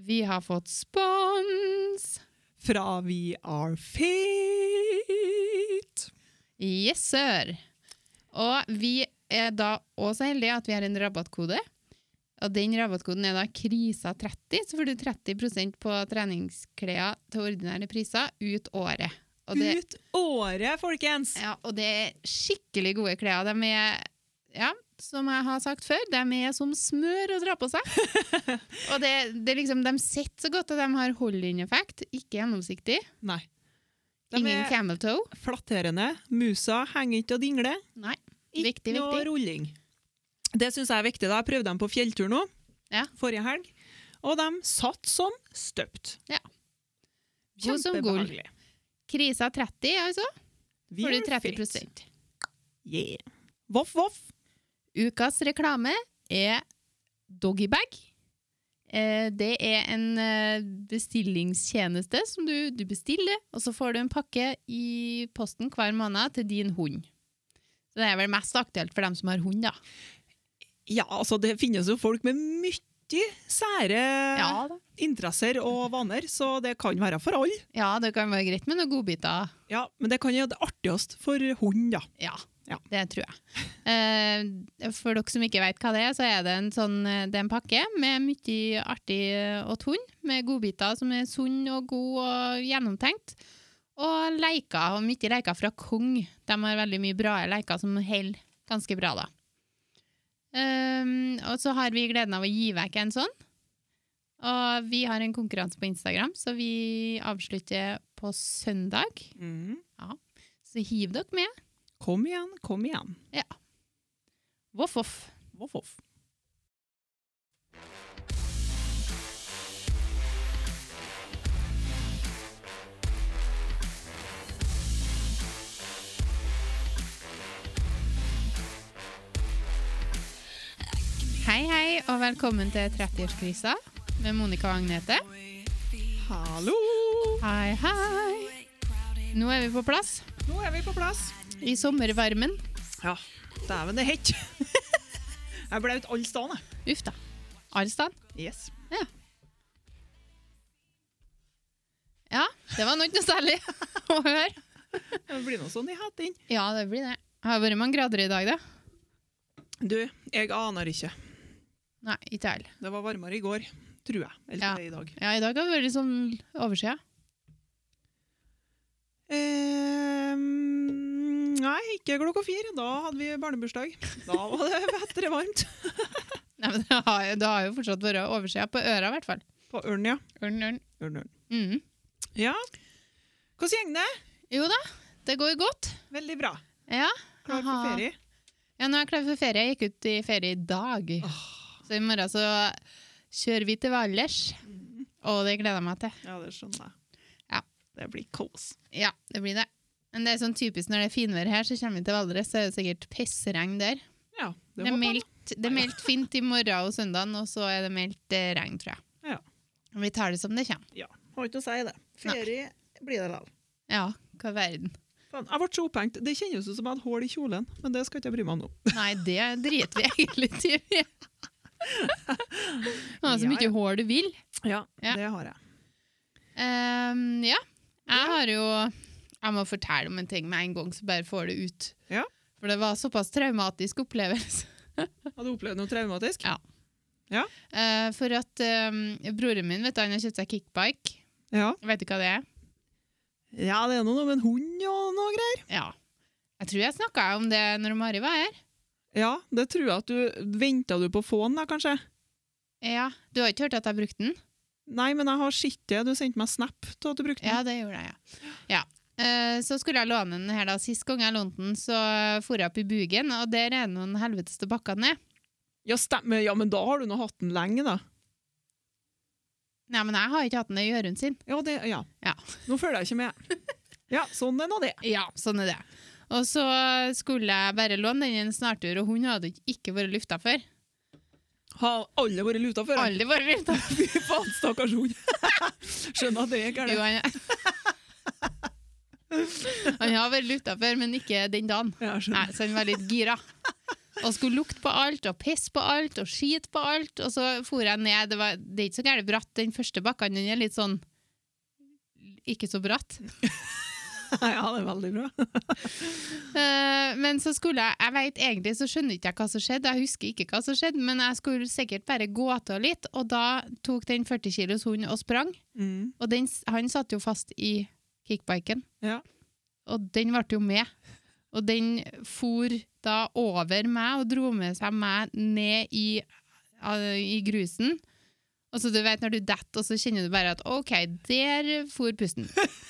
Vi har fått spons! Fra We Are Fit. Yes, sir! Og vi er da også heldige at vi har en rabattkode. Og den rabattkoden er da KRISA30, så får du 30 på treningsklær til ordinære priser ut året. Og det, Ut året, folkens! ja, og det er skikkelig gode klær. De er, ja, som jeg har sagt før, de er som smør å dra på seg. og det, det er liksom, de sitter så godt, og de har hold-in-effekt. Ikke gjennomsiktig. Nei. De Ingen er camel toe. flatterende. Musa henger ikke og dingler. Nei. Ikke Viktig, noe viktig. rulling. Det syns jeg er viktig. da. Jeg prøvde dem på fjelltur nå, Ja. forrige helg, og de satt som støpt. Ja. God som god. Kjempebehagelig. Krisa 30, altså. Vi Får du er fit. 30 Yeah. Voff, voff. Ukas reklame er Doggybag. Eh, det er en eh, bestillingstjeneste som du, du bestiller, og så får du en pakke i posten hver måned til din hund. Så det er vel mest aktuelt for dem som har hund, da. Ja, altså, det finnes jo folk med mye sære da. interesser og vaner, så det kan være for alle. ja, det kan være greit med noen godbiter. Ja, men det kan jo være det artigst for hund, da. Ja, Ja. det tror jeg. Eh, for dere som ikke vet hva det er, så er det en, sånn, eh, det er en pakke med mye artig eh, åt hund, med godbiter som er sunn og god og gjennomtenkt. Og leker, og mye leker fra Kong. De har veldig mye bra leker som holder ganske bra, da. Eh, og så har vi gleden av å gi vekk en sånn. Og vi har en konkurranse på Instagram, så vi avslutter på søndag. Mhm. Så hiv dere med. Kom igjen, kom igjen. Voff, voff. Voff, voff. Hei, hei, og velkommen til 30-årskrisa med Monica og Agnete. Hallo! Hei, hei. Nå er vi på plass Nå er vi på plass. i sommervarmen. Ja, dæven, det er hett. Jeg ble ut alle stedene. Uff da. Alstan. Yes. Ja, det var nå ikke noe særlig å høre. Det blir noe sånn i hatten. Ja, det blir det. Har det vært mange grader i dag, da? Du, jeg aner ikke. Nei, ikke heller. Det var varmere i går, tror jeg. Eller Ja. det er i dag. Ja, i dag har det vært sånn overskya. Ehm, nei, ikke klokka fire. Da hadde vi barnebursdag. Da var det vettere varmt. Nei, men det har, jo- det har jo fortsatt vært overskya på øra, i hvert fall. På Ørn, ja. Ørn, ørn. Ørn, ørn. Mm. Ja. Hvordan går det? Jo da, det går godt. Veldig bra. Ja. Klar for Aha. ferie. Ja, nå er jeg klar for ferie. Jeg gikk ut i ferie i dag. Så i morgen så kjører vi til Valdres. Mm. Og det gleder jeg meg til. Ja, det skjønner jeg. Ja. Det blir kos. Ja, det blir det. Men det er sånn typisk når det er finvær her, så kommer vi til Valdres, så er det sikkert pissregn der. Ja, Det, er det, håper jeg. meldt, det er meldt fint i morgen og søndagen, og så er det meldt eh, regn, tror jeg. Ja. Og vi tar det som det kommer. Ja, har ikke noe å si det. Ferie blir det likevel. Ja, hva verden. Faen, Jeg ble så opphengt. Det kjennes ut som jeg hadde hull i kjolen, men det skal ikke jeg bry meg om nå. Nei, det driter vi egentlig til. Du har så Ja, mye hår du vil. Ja, Ja. Det har jeg. Ehm, ja. Jeg har jo Jeg må fortelle om en ting med en gang, så bare får det ut. Ja. For det var såpass traumatisk opplevelse. Har du opplevd noe traumatisk? Ja. Eh, for at eh, broren min vet du, han har kjøpt seg kickbike. Ja. Vet du hva det er? Ja, det er noe med en hund og noe greier. Ja. Jeg tror jeg snakka om det når Mari var her. Ja, det tror jeg at du Venta du på å få den, da, kanskje? Ja, Du har ikke hørt at jeg brukte den? Nei, men jeg har sett det. Du sendte meg snap av at du brukte den. Ja, det gjorde jeg, ja. ja. Eh, så skulle jeg låne den her da. Sist gang jeg lånte den, så eh, for jeg opp i Bugen, og der er det noen helveteste bakker ned. Ja, stemmer. Ja, men da har du nå hatt den lenge, da. Nei, men jeg har ikke hatt den i Jørund sin. Ja, det, ja. Ja. Nå føler jeg ikke med. Ja, sånn er nå det. Ja, sånn er det. Og så skulle jeg bare låne den i en snartur, og hun hadde ikke vært lufta før. Har alle vært luta før? Aldri vært lufta Fy faen, stakkars hund. Skjønner at det er Jo, gærent. han, han har vært lufta før, men ikke den dagen. Ja, jeg skjønner. Nei, så han var litt gira. og skulle lukte på alt, og pisse på alt, og skite på alt. Og så for jeg ned. Det, var, det er ikke så gærent bratt. Den første bakken den er litt sånn ikke så bratt. ja, det er veldig bra. Eh, men så skulle jeg Jeg vet egentlig så skjønner ikke jeg hva som skjedde, jeg husker ikke hva som skjedde, men jeg skulle sikkert bare gå av litt, og da tok den 40 kilos hunden og sprang. Mm. Og den, han satt jo fast i kickbiken. Ja. Og den ble jo med. Og den for da over meg og dro med seg meg ned i, eh, i grusen. Og så du vet når du detter, og så kjenner du bare at OK, der for pusten.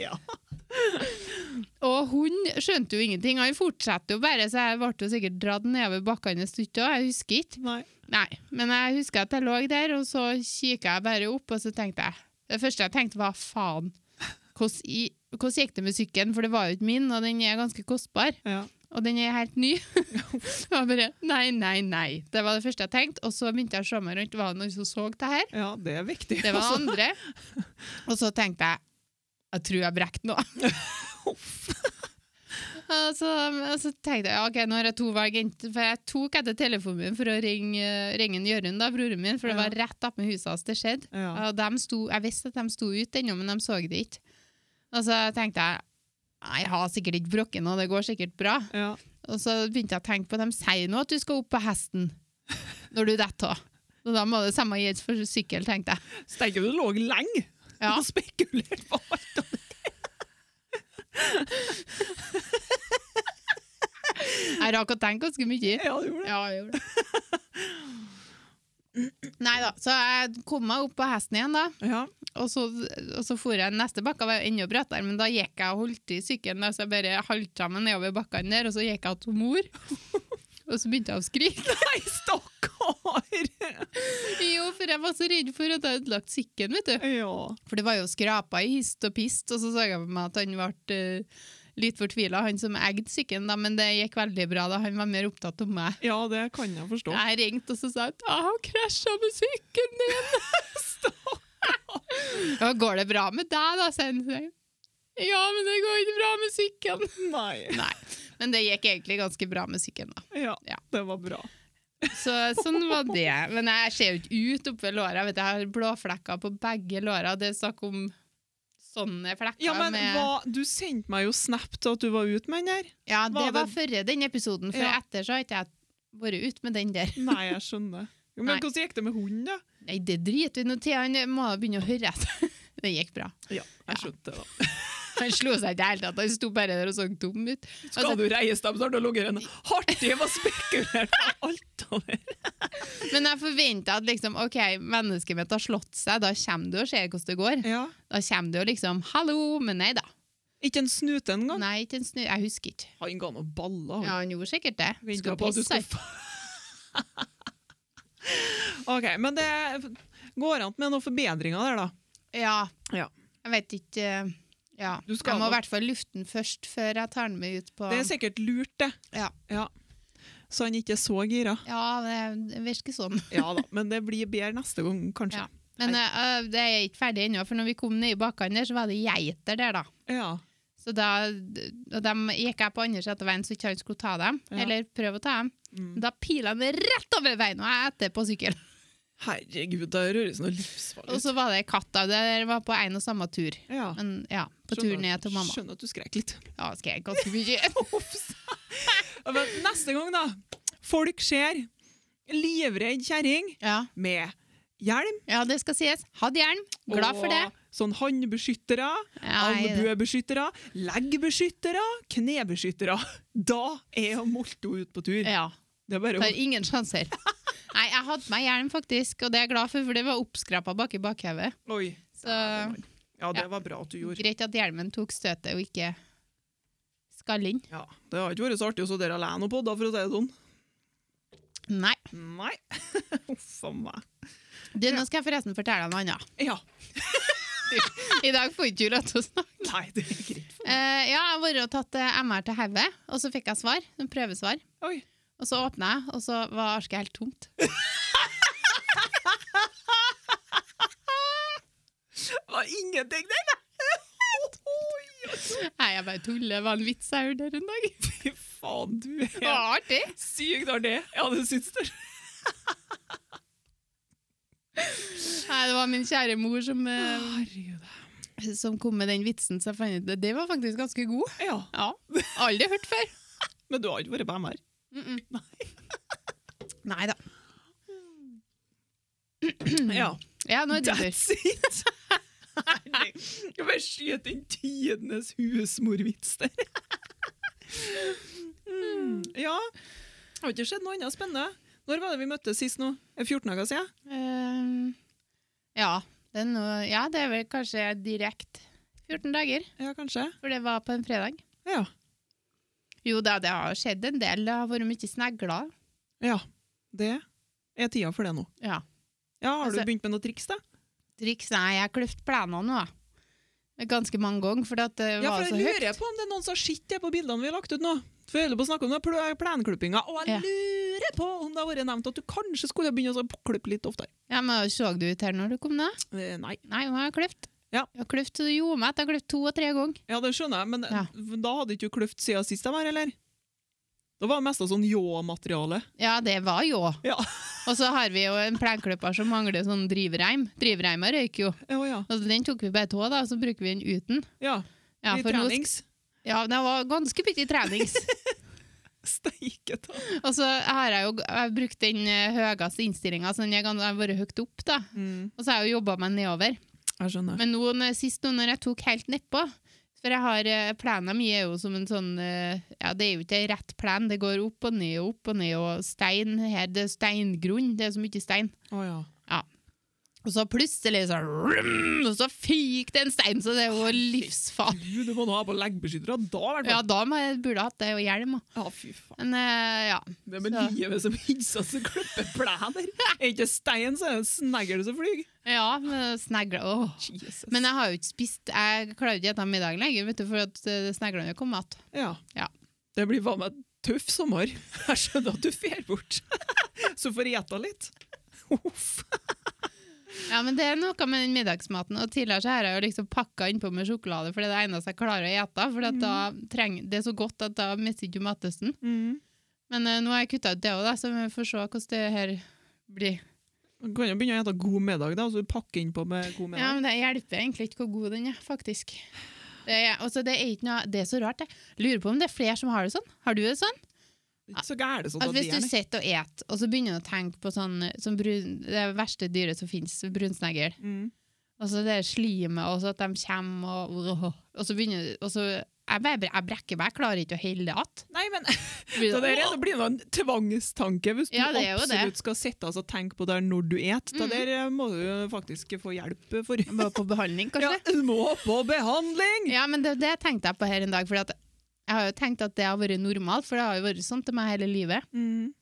Ja. Og hun skjønte jo ingenting. Han fortsatte jo bare, så jeg ble jo sikkert dratt nedover bakkene et stykke òg. Jeg husker ikke. Nei. Nei, men jeg husker at jeg lå der, og så kikket jeg bare opp, og så tenkte jeg Det første jeg tenkte, var faen. Hvordan, i, hvordan gikk det med sykkelen? For det var jo ikke min, og den er ganske kostbar. Ja. Og den er helt ny. Så jeg bare Nei, nei, nei. Det var det første jeg tenkte. Og så begynte jeg å se meg rundt. Var det noen som så det her? ja, det er viktig. Det var altså. andre. Og så tenkte jeg jeg tror jeg brekte noe. og, så, og så tenkte jeg ok, nå har jeg to valg. Ent- For jeg tok etter telefonen min for å ringe, ringe en Jørund, da, broren min, for det var rett opp med huset hans det skjedde. Ja. Og dem sto, jeg visste at de sto ute ennå, men de så det ikke. Og så tenkte jeg «Nei, jeg har sikkert ikke brokken, og det går sikkert bra. Ja. Og så begynte jeg å tenke på De sier nå at du skal opp på hesten når du detter av. Så da må det samme gjelde for sykkel, tenkte jeg. Steike, du lå lenge Ja. og spekulerte på alt. av det. Jeg rakk å tenke ganske mye. Ja, du gjorde det. Ja, jeg gjorde det. Nei da, så jeg kom meg opp på hesten igjen, da. Ja. Og så, og så for jeg neste bakke, var jo enda brattere, men da gikk jeg og holdt i sykkelen. da, Så jeg bare holdt sammen nedover bakkene der, og så gikk jeg til mor. Og så begynte jeg å skrike. Nei, stakkar! Jo, for jeg var så redd for at jeg hadde ødelagt sykkelen, vet du. Ja. For det var jo skrapa i hist og pist, og så så jeg på meg at han ble eh, litt fortvila, han som eide sykkelen, da, men det gikk veldig bra da. Han var mer opptatt av meg. ja, det kan jeg forstå. Jeg ringte og så sa at jeg har krasja med sykkelen din. ja, går det bra med deg, da? sa han. Så jeg, Ja, men det går ikke bra med sykkelen. Nei. Nei, men det gikk egentlig ganske bra med sykkelen, da. Ja, Ja. det var bra. Så sånn var det. Men jeg ser jo ikke ut oppe ved låra. Vet du, jeg har blåflekker på begge låra. Det er snakk om sånne flekker Ja, men med hva, Du sendte meg jo snap til at du var ute med den der. Ja, Var det var det- før den episoden, for Ja. etter så har ikke jeg vært ute med den der. Nei, jeg skjønner. Men Nei. hvordan gikk det med hunden, da? Nei, det driter vi nå til. Han må begynne å høre etter. Det gikk bra. Ja, jeg skjønte det. da. Han slo seg ikke i det hele tatt. Han sto bare der og så dum ut. Skal Altså- du reise dem, så har du ligget en hardt og spekulert på alt av det. Men jeg forventa at liksom, ok, mennesket mitt har slått seg, da kommer du og ser hvordan det går. Ja. Da kommer du og liksom 'hallo', men nei da. Ikke en snute engang? Nei, ikke en snu. Jeg husker ikke. Han ga noen baller. Ja, han gjorde sikkert det. Venta Skulle på at du pisse. skulle OK, men det går an med noen forbedringer der, da. Ja. Ja. Jeg vet ikke eh, Ja. Du skal jeg må i nok- hvert fall lufte den først før jeg tar den med ut på Det er sikkert lurt, det. Ja. Så han ikke er så gira. Ja, det- det virker sånn. Ja da, men det blir bedre neste gang, kanskje. Ja. Men Nei. eh, eh, det er ikke ferdig ennå, for når vi kom ned i bakkene der, så var det geiter der, da. Ja. Så da d- og dem gikk jeg på andre siden av veien, så ikke han skulle ta dem. Ja. Eller prøve å ta dem. Mm. Da pila de rett over veien, og jeg etter på sykkel. Herregud, det høres noe livsfarlig Og så var det ei katt da. Det var på en og samme tur. Ja. Men ja, på Skjønner- tur ned til mamma. Skjønner at du skrek litt. Ja, skal jeg ganske mye. Men neste gang, da. Folk ser livredd kjerring Ja. med hjelm. ja, det skal sies. Hadde hjelm. Glad for det. og Sånn håndbeskyttere, Nei, det- albuebeskyttere, leggbeskyttere, knebeskyttere. Da er jo Molto ute på tur. Ja. Det er bare å Tar ingen sjanser. Nei, jeg hadde meg hjelm, faktisk, og det er jeg glad for, for det var oppskrapa bak i bakhodet. Oi. Så Ja, det Ja. var bra at du gjorde. greit at hjelmen tok støtet og ikke skall inn. Ja, Det har ikke vært så artig å sitte alene og podde, for å si det sånn. Nei. Nei. Uff a meg. Du, nå skal jeg forresten fortelle deg noe annet. Ja. I dag får ikke du lov til å snakke. Nei, det er greit. Eh, ja, jeg har vært og tatt eh, MR til hodet, og så fikk jeg svar. En prøvesvar. Oi. Og så åpna jeg, og så var arket helt tomt. Det var ingenting der, da! Oi, Nei, jeg bare tuller. Det var en vits jeg hørte her en dag. fy faen. faen, du Det er var artig. sykt artig! Ja, det syns du? Nei, det var min kjære mor som, eh, Herregud. som kom med den vitsen, så jeg fant ut det. Det var faktisk ganske god. Ja, Ja, aldri hørt før. men du har ikke vært på MR? Mm -mm. Nei da. Ja. Ja, Mm. nå er det That's it! Herregud. Jeg bare skyter inn tidenes husmorvits der. Mm, ja. Har ikke skjedd noe annet spennende? Når var det vi møttes sist nå? Er det 14 dager siden? Ehm, ja, det er noe, ja, det er vel kanskje direkte 14 dager, Ja, kanskje? for det var på en fredag. Ja. Jo da, det har skjedd en del. Det har vært mye snegler. Ja, det er tida for det nå. Ja. Ja, Har Altså- du begynt med noe triks, da? Triks? Nei, jeg har kløft plenene nå. jeg. Ganske mange ganger, for det Ja, var for så jeg høyt. lurer på om det er noen som har sett det på bildene vi har lagt ut nå. For jeg holder på å snakke om den pl- plenklippinga, og jeg Ja. lurer på om det har vært nevnt at du kanskje skulle begynne å klippe litt oftere. Ja, men Så du ut her når du kom ned? Eh, Nei. Nei, nå har jeg kløft. Ja. Jeg har kløft, så det gjorde meg at jeg har kløft to og tre ganger. Ja, det skjønner jeg, men eh, Ja. da hadde ikke du kløft siden sist jeg var her, eller? Det var mest av sånn ljå-materiale. Ja, det var jo. Ja. Og så har vi jo en plenklipper som mangler sånn drivreim. Drivreima røyker jo. Ja, Eh, ja. Og den tok vi bare tå, da, og så bruker vi den uten. ja. Ja, Litt for nå- trenings. Ja, det var ganske mye trenings. Steike ta. og så har jeg jo jeg har brukt den eh, høyeste innstillinga, så den er gans- har vært høyt opp, da. Og så har jeg jo jobba meg nedover. Mm, Jeg skjønner. Men nå, når- sist nå når jeg tok helt nedpå For jeg har eh, plena mi er jo som en sånn eh, Ja, det er jo ikke en rett plen. Det går opp og ned og opp og ned, og stein her. Det er steingrunn. Det er så mye stein. Å ja. Og så plutselig så rum, Og så fyk det en stein, så det er jo livsfarlig. Du, du må nå ha på leggbeskyttere, da i hvert Ja, fall. da må jeg, burde jeg hatt det og hjelm. da. Ja, fy faen. Men eh, ja. Det er med Så- livet som innsats som klipper plener. Er ikke stein, så er det en snegl som flyr. ja men snegler åh. Jesus. Men jeg har jo ikke spist Jeg klarer jo ikke å spise middagen lenger, vet du, for at eh, sneglene har kommet igjen. Ja. Ja. Det blir faen meg tøff sommer. Jeg skjønner at du fer bort. Så får jeg gjette litt. Uff. Ja, men det er noe med den middagsmaten. Og tidligere så har jeg jo liksom pakka innpå med sjokolade, for det er det eneste jeg klarer å ete. For at da treng, det er så godt at da mister ikke du matlysten. Men eh, nå har jeg kutta ut det òg, så vi får se hvordan det her blir. Du kan jo begynne å spise god middag, da, og så pakke innpå med god Ja, middag. men det hjelper egentlig ikke hvor god den er, faktisk. Det er, også, det er, ikke noe, det er så rart, jeg. Lurer på om det er flere som har det sånn. Har du det sånn? Det er ikke så gærent sånn At at Altså, det hvis er du nei. sitter og et, og så begynner du å tenke på sånn, som brun, det verste dyret som finnes, brunsnegl. Mm. Og så det slimet, og så at de kommer, og, og, så begynner og så, jeg, bare, bre- jeg brekker meg, jeg klarer ikke å holde det att. Nei, men Blir det det- der er- det blir nå en tvangstanke hvis du Ja, det er jo det. absolutt skal sitte og tenke på det når du et. Det Mm. der eh, må du jo faktisk få hjelp for. Åh! Bare på behandling, Ja, kanskje? du må på behandling! Ja, men det, det tenkte jeg på her en dag, for jeg har jo tenkt at det har vært normalt, for det har jo vært sånn til meg hele livet. Mm.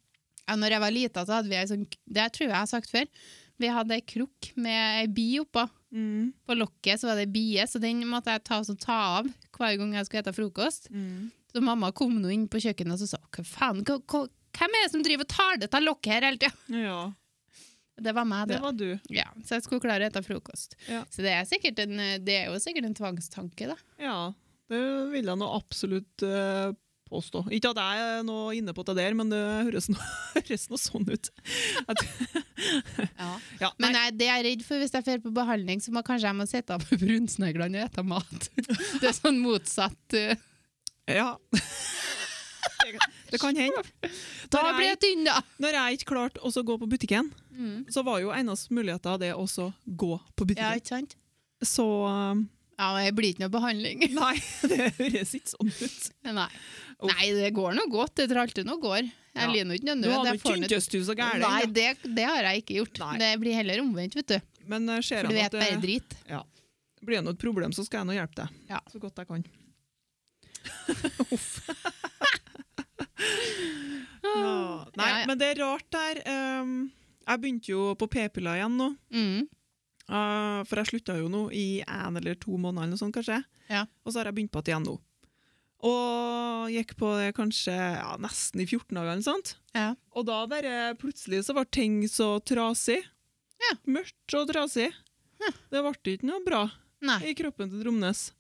Ja, når jeg var lita, så hadde vi ei sånn, det tror jeg jeg har sagt før, vi hadde ei krukk med ei bi oppå. Mm. På lokket så var det ei bie, så den måtte jeg ta, og så ta av hver gang jeg skulle spise frokost. Mm. Så mamma kom nå inn på kjøkkenet og så sa hva faen, hva, hva, hvem er det som driver og tar dette lokket her hele tida? Ja, Det var meg, det det. var du. Ja, så jeg skulle klare å spise frokost. Ja. Så det er, sikkert en, eh, det er jo sikkert en tvangstanke, da. Ja, det vil jeg nå absolutt eh, påstå. Ikke at jeg er nå inne på det der, men det høres nå, høres nå sånn ut. Ja, Men nei, nei, det er jeg redd for hvis jeg drar på behandling, så må kanskje jeg må sitte med brunsneglene og ete mat. Det er sånn motsatt. eh, ja. Det kan hende. Da Når blir jeg, jeg tynn, da! når jeg ikke klarte å så gå på butikken, Mm. så var jo eneste muligheten det å så gå på Ja, butikken. ikke sant? Så eh, Ja, men det blir ikke noe behandling. nei, det høres ikke sånn ut. Nei. Uff. Nei, det går nå godt. Jeg tror alltid noe går. Jeg Ja. lider nå ikke noe Du nød. hadde jeg får nå- tyntest du så gæren. Nei, da. det, det har jeg ikke gjort. Nei. Det blir heller omvendt, vet du. Men eh, ser For du jeg nå vet at bare det drit. blir det noe problem, så skal jeg nå hjelpe deg. Ja. Så godt jeg kan. Ja. Nei, Ja, ja. men det er rart der. Ehm, jeg begynte jo på p-piller igjen nå, Mm. eh, for jeg slutta jo nå i en eller to måneder, eller noe sånt, kanskje. Ja. Og så har jeg begynt på det igjen nå. Og gikk på det kanskje ja, nesten i 14 dager, eller noe sånt. Ja. Og da bare plutselig så ble ting så trasig. Ja. Mørkt og trasig. Ja. Det ble ikke noe bra Nei. i kroppen til Dromnes.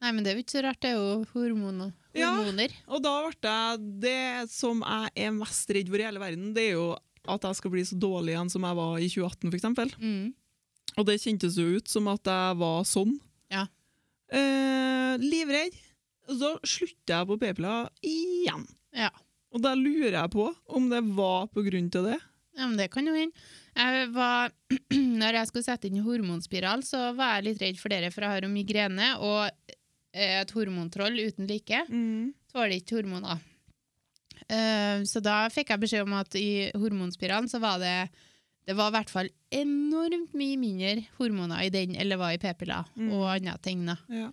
Nei, men det er jo ikke så rart. Det er jo hormoner. Ja. hormoner. Og da ble jeg Det som jeg er mest redd for i hele verden, det er jo at jeg skal bli så dårlig igjen som jeg var i 2018, f.eks. Mm. Og det kjentes jo ut som at jeg var sånn. Ja. Eh, livredd. Og så slutta jeg på p-piller igjen. Ja. Og da lurer jeg på om det var på grunn til det. Ja, men det kan jo hende. Jeg var, når jeg skulle sette inn hormonspiral, så var jeg litt redd for dere, for jeg har jo migrene og eh, et hormontroll uten like. Tåler ikke hormoner. Eh, Så da fikk jeg beskjed om at i hormonspiralen så var det det var i hvert fall enormt mye mindre hormoner i den eller var i p-piller Mm. og andre ting. da. Ja.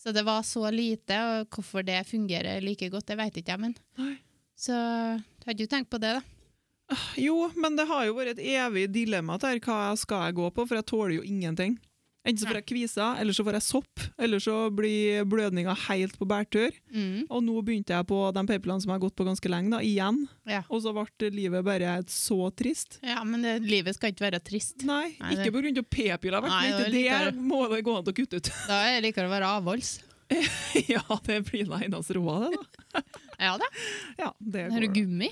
Så det var så lite, og hvorfor det fungerer like godt, det vet ikke jeg, men Nei. Så hadde jo tenkt på det, da. Jo, men det har jo vært et evig dilemma der. Hva skal jeg gå på? For jeg tåler jo ingenting. Enten så får jeg kviser, eller så får jeg sopp, eller så blir blødninga helt på bærtur. Mm. Og nå begynte jeg på de p-pillene som jeg har gått på ganske lenge, da, igjen. Ja. Og så ble livet bare så trist. Ja, men det, livet skal ikke være trist. Nei, Nei, ikke det- på grunn av p-piller. i hvert Nei, det fall ikke. var Det litt verre. må det gå an å kutte ut. Da er det likere å være avholds. ja, det blir da eneste råd, det, da. Ja da. Ja, det Har går. du da. gummi?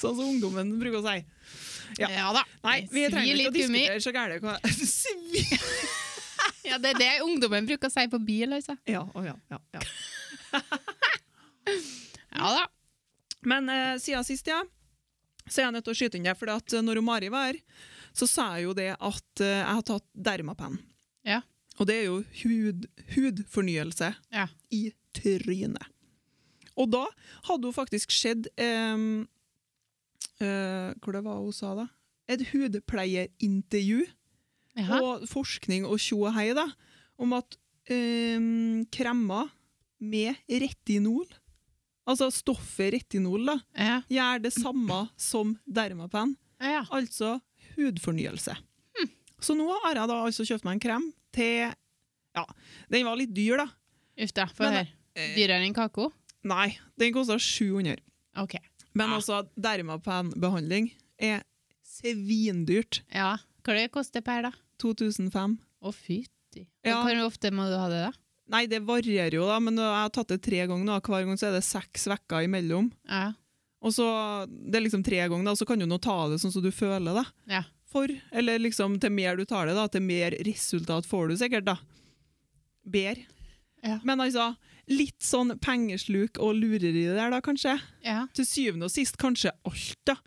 Sånn som ungdommen bruker å si. Ja. da. Nei, vi Svi trenger ikke å litt gummi. diskutere så gærent hva Svi! Ja, det er det ungdommen bruker å si på bil, altså. Ja, å ja, ja, ja. Ja da. Men eh, siden sist, ja, så er jeg nødt til å skyte inn det. For at eh, når hun Mari var her, så sa jeg jo det at eh, jeg har tatt dermapen. Ja. Og det er jo hud, hudfornyelse Ja. i trynet. Og da hadde hun faktisk sett em, eh, Hvor det var hun sa da? Et hudpleierintervju Jaha. og forskning og tjo og hei da, om at em, kremmer med retinol, altså stoffet retinol da, Ja. gjør det samme som dermapen, Ja. altså hudfornyelse. Så nå har jeg da altså kjøpt meg en krem til, ja, den var litt dyr da. Uff da, få Men- høre. Dyrere enn kako? Nei, den kostet 700. OK. Men Ja. altså, dermapenbehandling er svindyrt. Ja. Hva det koster per, da? 2005. Å, fytti. Ja. Og Hvor ofte må du ha det, da? Nei, det varierer jo da, men jeg har tatt det tre ganger nå. Hver gang så er det seks vekker imellom. Ja. Og så, det er liksom tre ganger, da, så kan du nå ta det sånn som du føler det. Ja. For, eller liksom, til mer du tar det, da, til mer resultat får du sikkert, da. Bedre. Ja. Men altså, litt sånn pengesluk og lureri der, da, kanskje. ja. Til syvende og sist, kanskje alt, da.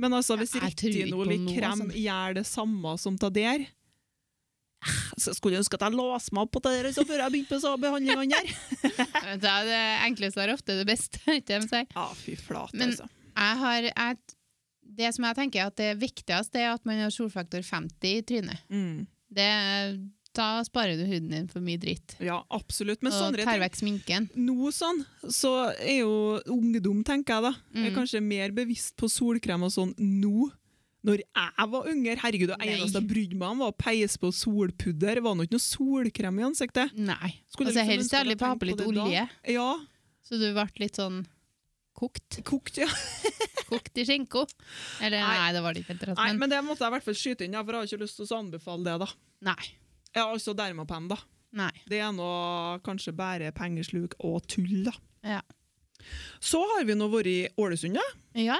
Men altså, hvis Ja, jeg tror ikke retinol i på noe, krem altså. gjør det samme som ta der eh, så Skulle jeg ønske at jeg låste meg opp på det der så før jeg begynte med så behandlingene der. Da er det enkleste er ofte det beste. ikke det de sier? Ja, fy flate, Men- altså. Jeg har, jeg, det som jeg tenker er at det viktigste er at man har solfaktor 50 i trynet. Mm. Det, da sparer du huden din for mye dritt. Ja, absolutt. Men og sånne tar ting vekk sminken. nå sånn, så er jo ungdom, tenker jeg da, er Mm. kanskje mer bevisst på solkrem og sånn nå. Når jeg var yngre, herregud, det Nei. eneste jeg brydde meg om var å peise på solpudder. Det var nå ikke noe solkrem i ansiktet. Nei. Skulle altså, liksom ønske helst at jeg ærlig på å ha på tenkte litt det da. olje, Ja, så du ble litt sånn kokt. kokt, ja. Kokt i skinko. Eller nei, Nei. det var det ikke. helt rett, Nei, Men, men det måtte jeg i hvert fall skyte inn, ja, for jeg har ikke lyst til å anbefale det da. nei. Ja, altså dermapen da. nei. Det er noe kanskje bare pengesluk og tull da. Ja. Så har vi nå vært i Ålesund, ja. ja,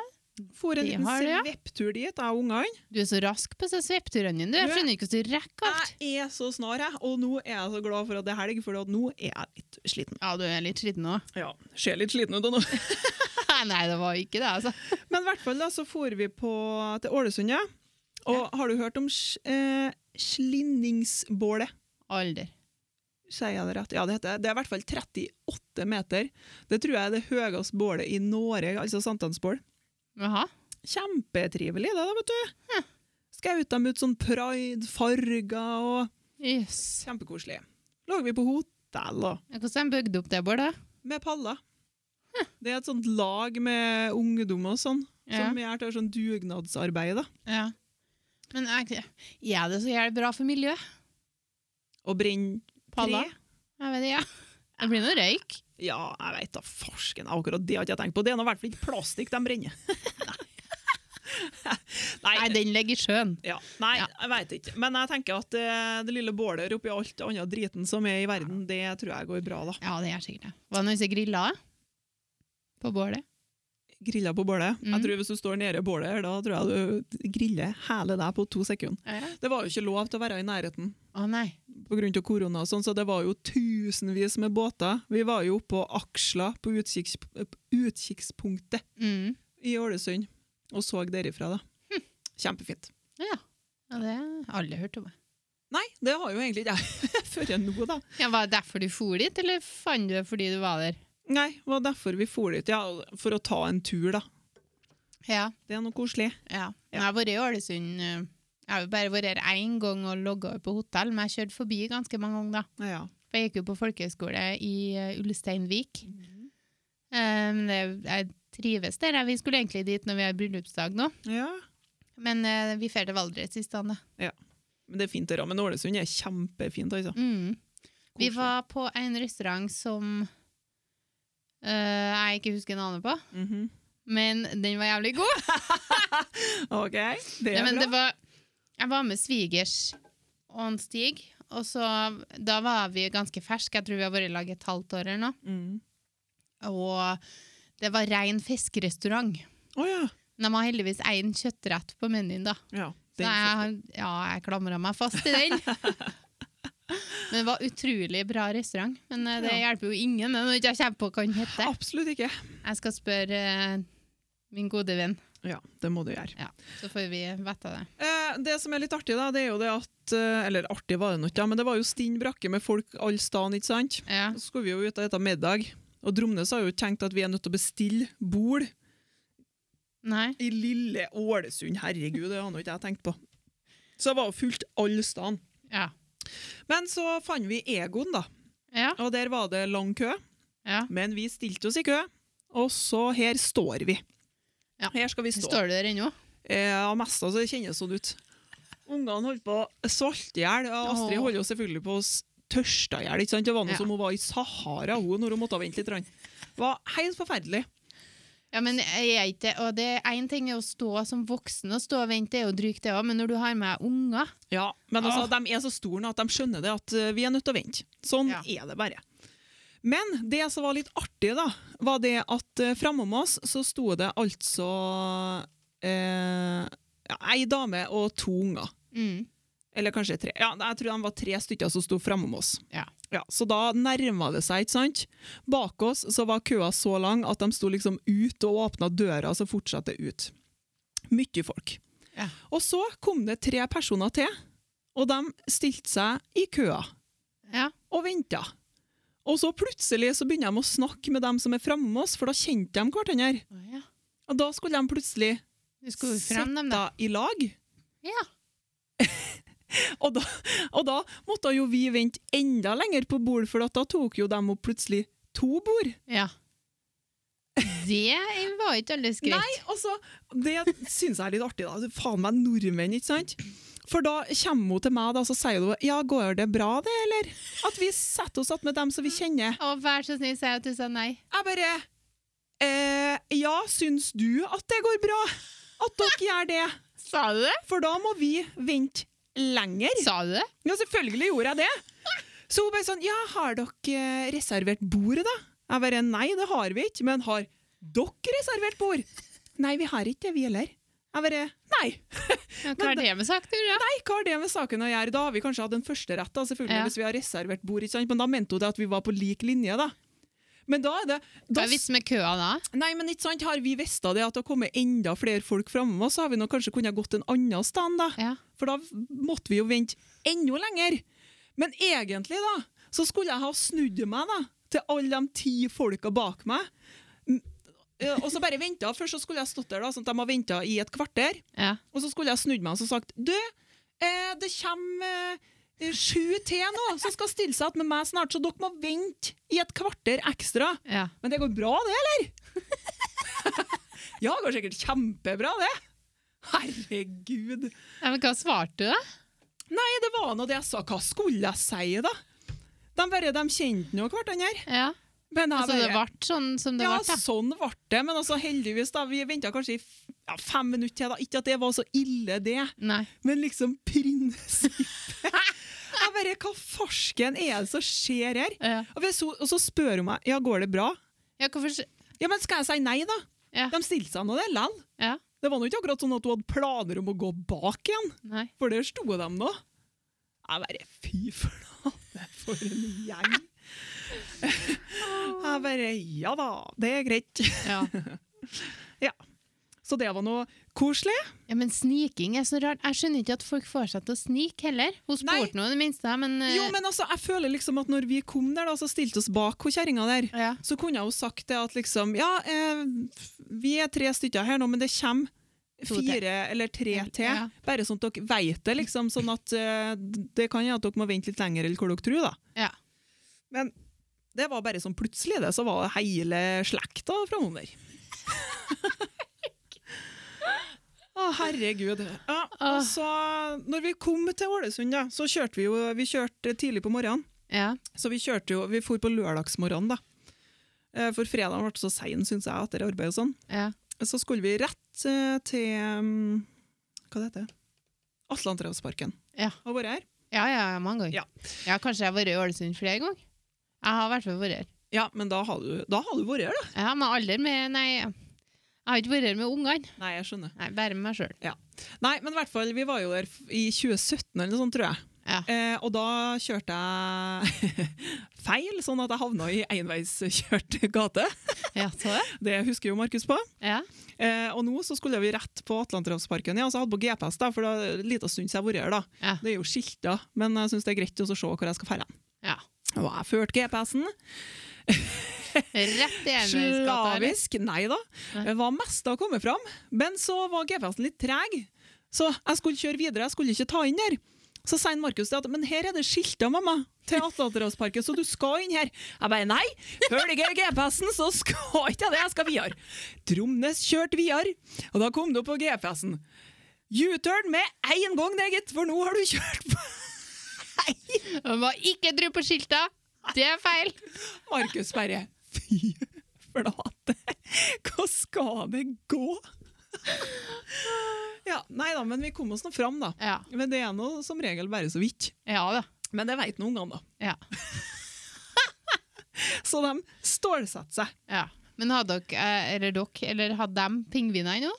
For en Vi liten har det, ja. svepptur dit, jeg og ungene. du er så rask på disse sveppturene dine. du. Du Jeg er- skjønner ikke hvordan du rekker alt. Jeg er så snar, jeg. Og nå er jeg så glad for at det er helg, for at nå er jeg litt sliten. Ja, du er litt sliten nå. Ja, ser litt sliten ut nå. nei, det var ikke det, altså. Men i hvert fall da, så for vi på, til Ålesund, ja. Og har du hørt om sj- eh, Slinningsbålet? Alder. Sier jeg det rett? Ja, det heter det. Det er i hvert fall 38 meter. Det tror jeg er det høyeste bålet i Norge, altså sankthansbål. Jaha. Kjempetrivelig det da, vet du. Skaut dem ut sånn pride, farger og Jøss. kjempekoselig. Lå vi på hotell og Hvordan bygde du opp det, Bård? da? Med paller. Det er et sånt lag med ungdom og sånn, Ja. som gjør til sånn dugnadsarbeid. da. ja. Men jeg, ja, det er så jævlig bra for miljøet. Og brenne Paller? tre. Jeg vet det, ja. Det blir noe røyk. Ja, jeg veit da farsken. Akkurat det har jeg ikke tenkt på. Det er nå i hvert fall ikke plastikk de brenner. Nei, den ligger i sjøen. Ja, Nei, Ja. jeg veit ikke. Men jeg tenker at det, det lille bålet oppi alt det andre driten som er i verden, det tror jeg går bra, da. Ja, det gjør sikkert det. Var det noen som grilla på bålet? Grilla på bålet. Mm. Jeg tror Hvis du står nede i bålet, her, da tror jeg du griller hele deg på to sekunder. Å Det var jo ikke lov til å være i nærheten nei. pga. korona, og sånn, så det var jo tusenvis med båter. Vi var jo oppå Aksla, på utkiks, utkikkspunktet Mm. i Ålesund, og så derifra, da. Hm. Kjempefint. Ja. ja, det har alle hørt om. Nei, det har jo egentlig ikke jeg før nå, da. Ja, var det derfor du for dit, eller fant du det fordi du var der? Nei, det var derfor vi for dit. Ja, for å ta en tur, da. Ja. Det er noe koselig. Ja. Jeg har vært i Ålesund eh, Jeg har jo bare vært her én gang og logga på hotell, men jeg kjørte forbi ganske mange ganger. da. Ja, ja. For Jeg gikk jo på folkehøyskole i eh, Ulsteinvik. Um, det, jeg trives der. Vi skulle egentlig dit når vi har bryllupsdag nå, ja. men eh, vi drar til Valdres i stedet. Men det er fint, det da. Men Ålesund er kjempefint, altså. Mm. Vi Koselig. var på en restaurant som eh, jeg ikke husker navnet på, Mhm. men den var jævlig god. OK, det er Nei, men bra. det var, jeg var med svigers og en Stig, og så, da var vi ganske ferske. Jeg tror vi har vært i lag et halvt år eller noe. Mm. Og det var ren fiskerestaurant. Å ja. De har heldigvis én kjøttrett på menyen, da. ja. Så Den jeg, fikk- har- ja, jeg klamra meg fast i den. Men det var utrolig bra restaurant. Men eh, det Ja. hjelper jo ingen når jeg ikke kommer på hva den heter. Absolutt ikke. Jeg skal spørre eh, min gode venn, Ja, det må du gjøre. så får vi vite det. Eh, det som er litt artig, da, det er jo det at eh, Eller artig var det nå ikke, da, men det var jo stinn brakke med folk all staden, ikke sant? Ja. Så skulle vi jo ut og spise middag, og Dromnes har jo tenkt at vi er nødt til å bestille bord Nei. i lille Ålesund. Herregud, det hadde jo ikke jeg tenkt på. Så det var jo fullt alle steder. Ja. Men så fant vi Egon, da. Ja. Og der var det lang kø. ja. Men vi stilte oss i kø, og så her står vi. Ja. Her skal vi stå. Står du der ennå? Eh, Ja, mest altså, det kjennes sånn ut. Ungene holdt på å svalte i hjel. og Astrid Åh. holdt jo selvfølgelig på å s- tørste i hjel. ikke sant? Det var noe Ja. som hun var i Sahara hun, når hun måtte vente litt. grann. Det var helt forferdelig. Ja, men jeg er ikke Og det er én ting er å stå som voksen og stå og vente, det er jo drygt det òg, men når du har med unger Ja, men altså, Åh. de er så store nå at de skjønner det at eh, vi er nødt til å vente. Sånn Ja. er det bare. Men det som var litt artig, da, var det at uh, framom oss så sto det altså eh, ja, ei dame og to unger. mm. Eller kanskje tre. Ja, jeg tror de var tre stykker som sto framom oss. Ja. så da nærma det seg, ikke sant? Bak oss så var køa så lang at de sto liksom ut og åpna døra, så fortsatte det ut. Mye folk. Ja. Og så kom det tre personer til, og de stilte seg i køa Ja. og venta. Og så plutselig så begynner de å snakke med dem som er framom oss, for da kjente de hverandre. Å, ja. Og da skulle de plutselig Du skulle jo frem dem, da. sitte i lag. Ja. Og da, og da måtte jo vi vente enda lenger på bord, for at da tok jo dem opp plutselig to bord. ja. Det var ikke alle skritt. Nei, altså, det syns jeg er litt artig, da. Faen meg nordmenn, ikke sant? For da kommer hun til meg da, så sier hun ja, går det bra det, eller? At vi setter oss attmed dem som vi kjenner. Å, vær så snill, si at du sa nei. Jeg bare eh, Ja, syns du at det går bra? At dere gjør det? Sa du det? For da må vi vente lenger. Sa du det? Ja, selvfølgelig gjorde jeg det. Så hun bare sånn, ja, har dere eh, reservert bordet da? Jeg bare, nei, det har vi ikke, men har dere reservert bord? Nei, vi har ikke det, vi heller. Jeg bare, nei, Ja, hva har det med saken å gjøre? nei, hva har det med saken å gjøre? Da har vi kanskje hatt en første rett da, selvfølgelig, Ja. hvis vi har reservert bord, ikke sant? Men da mente hun det at vi var på lik linje da. Men da er det... Hva Da, er vitsen med køa da? nei, men ikke sant, har vi visst av det at det kommer enda flere folk fremme, så har vi nok kanskje kunnet gått en annen stand da. Ja. For da måtte vi jo vente enda lenger. Men egentlig da, så skulle jeg ha snudd meg da, til alle de ti folka bak meg. Mm, eh, Og så bare ventet. Først så skulle jeg stått der da, sånn at de har ventet i et kvarter. ja. Og så skulle jeg snudd meg og så sagt, du, eh, det kommer eh, sju til nå, som skal stille seg med meg snart, så dere må vente i et kvarter ekstra. ja. Men det går bra, det, eller? ja, det går sikkert kjempebra, det. Herregud. ja men hva svarte du, da? Nei, det var nå det jeg sa. Hva skulle jeg si, da? De bare de kjente nå hverandre. Ja. Men jeg Altså, det bare- ble sånn som det ja, ble. da. sånn ble det. Men altså, heldigvis, da. Vi venta kanskje i f- ja, fem minutter til. da. Ikke at det var så ille, det. Nei. Men liksom prinsippet Jeg bare, Hva farsken er det som skjer her? Ja. Og, hvis hun, og så spør hun meg ja, går det bra. Ja, hvorfor s- Ja, men Skal jeg si nei, da? Ja. De stilte seg nå det likevel. Ja. Det var nå ikke akkurat sånn at hun hadde planer om å gå bak igjen, Nei. for der sto de nå. Jeg bare Fy flate, for en gjeng. Jeg bare Ja da, det er greit. Ja. Så det var noe koselig. ja, men sniking er så rart. Jeg skjønner ikke at folk får seg til å snike heller. Hun Nei. spurte nå i det minste, men, eh, Jo, men altså, jeg føler liksom at når vi kom der, da, så stilte oss bak hun kjerringa der. ja. så kunne jeg jo sagt det at liksom, ja, eh, vi er tre stykker her nå, men det kommer To til. fire eller tre Ja. til. Bare sånn at dere vet det, liksom, sånn at eh, det kan jo at dere må vente litt lenger eller hvor dere tror, da. Ja. Men det var bare sånn plutselig det, så var det hele slekta framover. Å, herregud. Ja, og så, når vi kom til Ålesund, da, så kjørte vi jo vi kjørte tidlig på morgenen. ja. Så vi kjørte jo, vi for på lørdagsmorgenen da. Eh, For fredagen ble så sein, synes jeg, etter arbeid og sånn. ja. Så skulle vi rett eh, til, um, hva det heter det? Atlanterhavsparken. Ja. Har vært her? Ja, ja, mange ganger. Ja. Ja. Kanskje jeg har vært i Ålesund flere ganger. Jeg har i hvert fall vært her. Ja, men da har du, da har du vært her da. Ja, men aldri med Nei, jeg har ikke vært her med ungene. Nei, jeg skjønner. Nei, Bare med meg sjøl. Nei, men i hvert fall, vi var jo der f- i 2017 eller noe sånt, tror jeg. Ja. Eh, og da kjørte jeg feil, sånn at jeg havna i enveiskjørt gate. Ja, så det. Det husker jo Markus på. Ja. Eh, og nå så skulle vi rett på Atlanterhavsparken. Ja, så jeg hadde på GPS, da, for det er en liten stund siden jeg har vært her. da. Ja. Det er jo skilta, men jeg syns det er greit å se hvor jeg skal dra. ja. Og jeg førte GPS-en. Rett i Enveisgata. eller? Slavisk. Nei da. Nei. Det var mest å komme fram. Men så var GPS-en litt treg, så jeg skulle kjøre videre. Jeg skulle ikke ta inn der. Så sier Markus det at men her er det skilta, mamma, til Atlanterhavsparken, så du skal inn her. Jeg bare nei, følger GPS-en, så skal ikke jeg det, jeg skal videre. Tromnes kjørte videre, og da kom du på GPS-en. U-turn med én gang, det, gitt, for nå har du kjørt på Man må ikke tro på skilta! Det er feil! Markus bare Fy flate, hva skal det gå? ja, Nei da, men vi kom oss nå fram, da. Ja, Men det er nå som regel bare så vidt. ja da. Men det veit nå ungene, da. Ja. Så de stålsetter seg. ja. Men hadde dere, eh, eller dere, eller hadde dem pingvinene nå?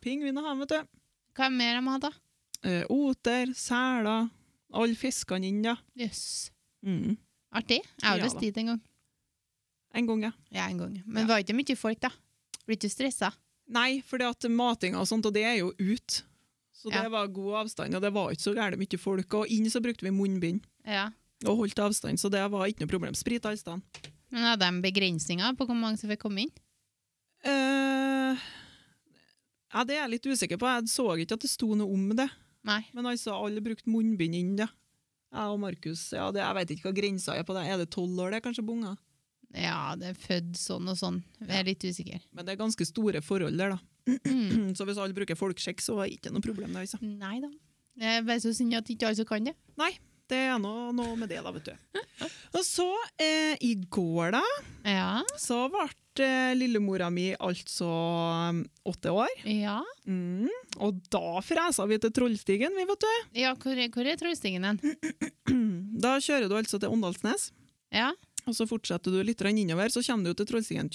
Pingviner har de, vet du. Hva er mer de hadde? Eh, oter, seler. Alle fiskene inn, da. Jøss. Mm. Artig. Jeg har Ja lyst da. dit en gang. En gang, ja. Ja, en gang. Men var ikke mye folk, da? Blir ikke stressa? Nei, for matinga og sånt, og det er jo ut. Så Ja. det var god avstand, og det var ikke så gærent mye folk. Og inn så brukte vi munnbind Ja. og holdt avstand, så det var ikke noe problem. Sprit alle steder. Men hadde de begrensninger på hvor mange som fikk komme inn? Eh, ja, det er jeg litt usikker på. Jeg så ikke at det sto noe om det. Nei. Men altså, alle brukte munnbind inn, da. Jeg og Markus, ja, det, jeg vet ikke hva grensa er på det. Er det tolv år, det, er kanskje, på unger? Ja, det er født sånn og sånn. Jeg er litt usikker. Men det er ganske store forhold der, da. Mm. Så hvis alle bruker folkesjekk, så er det ikke noe problem. Det, altså. Nei da. Det er bare så synd at ikke alle som kan det. det er noe, noe med det, da, vet du. Og så, eh, i går, da, Ja. så ble eh, lillemora mi altså mm, åtte år. Ja, Mm. Og da fresa vi til Trollstigen, vi, vet du. ja hvor, er- hvor er trollstingen hen? Da kjører du altså til Åndalsnes, Ja. og så fortsetter du litt grann innover, så kommer du jo til Trollstigen.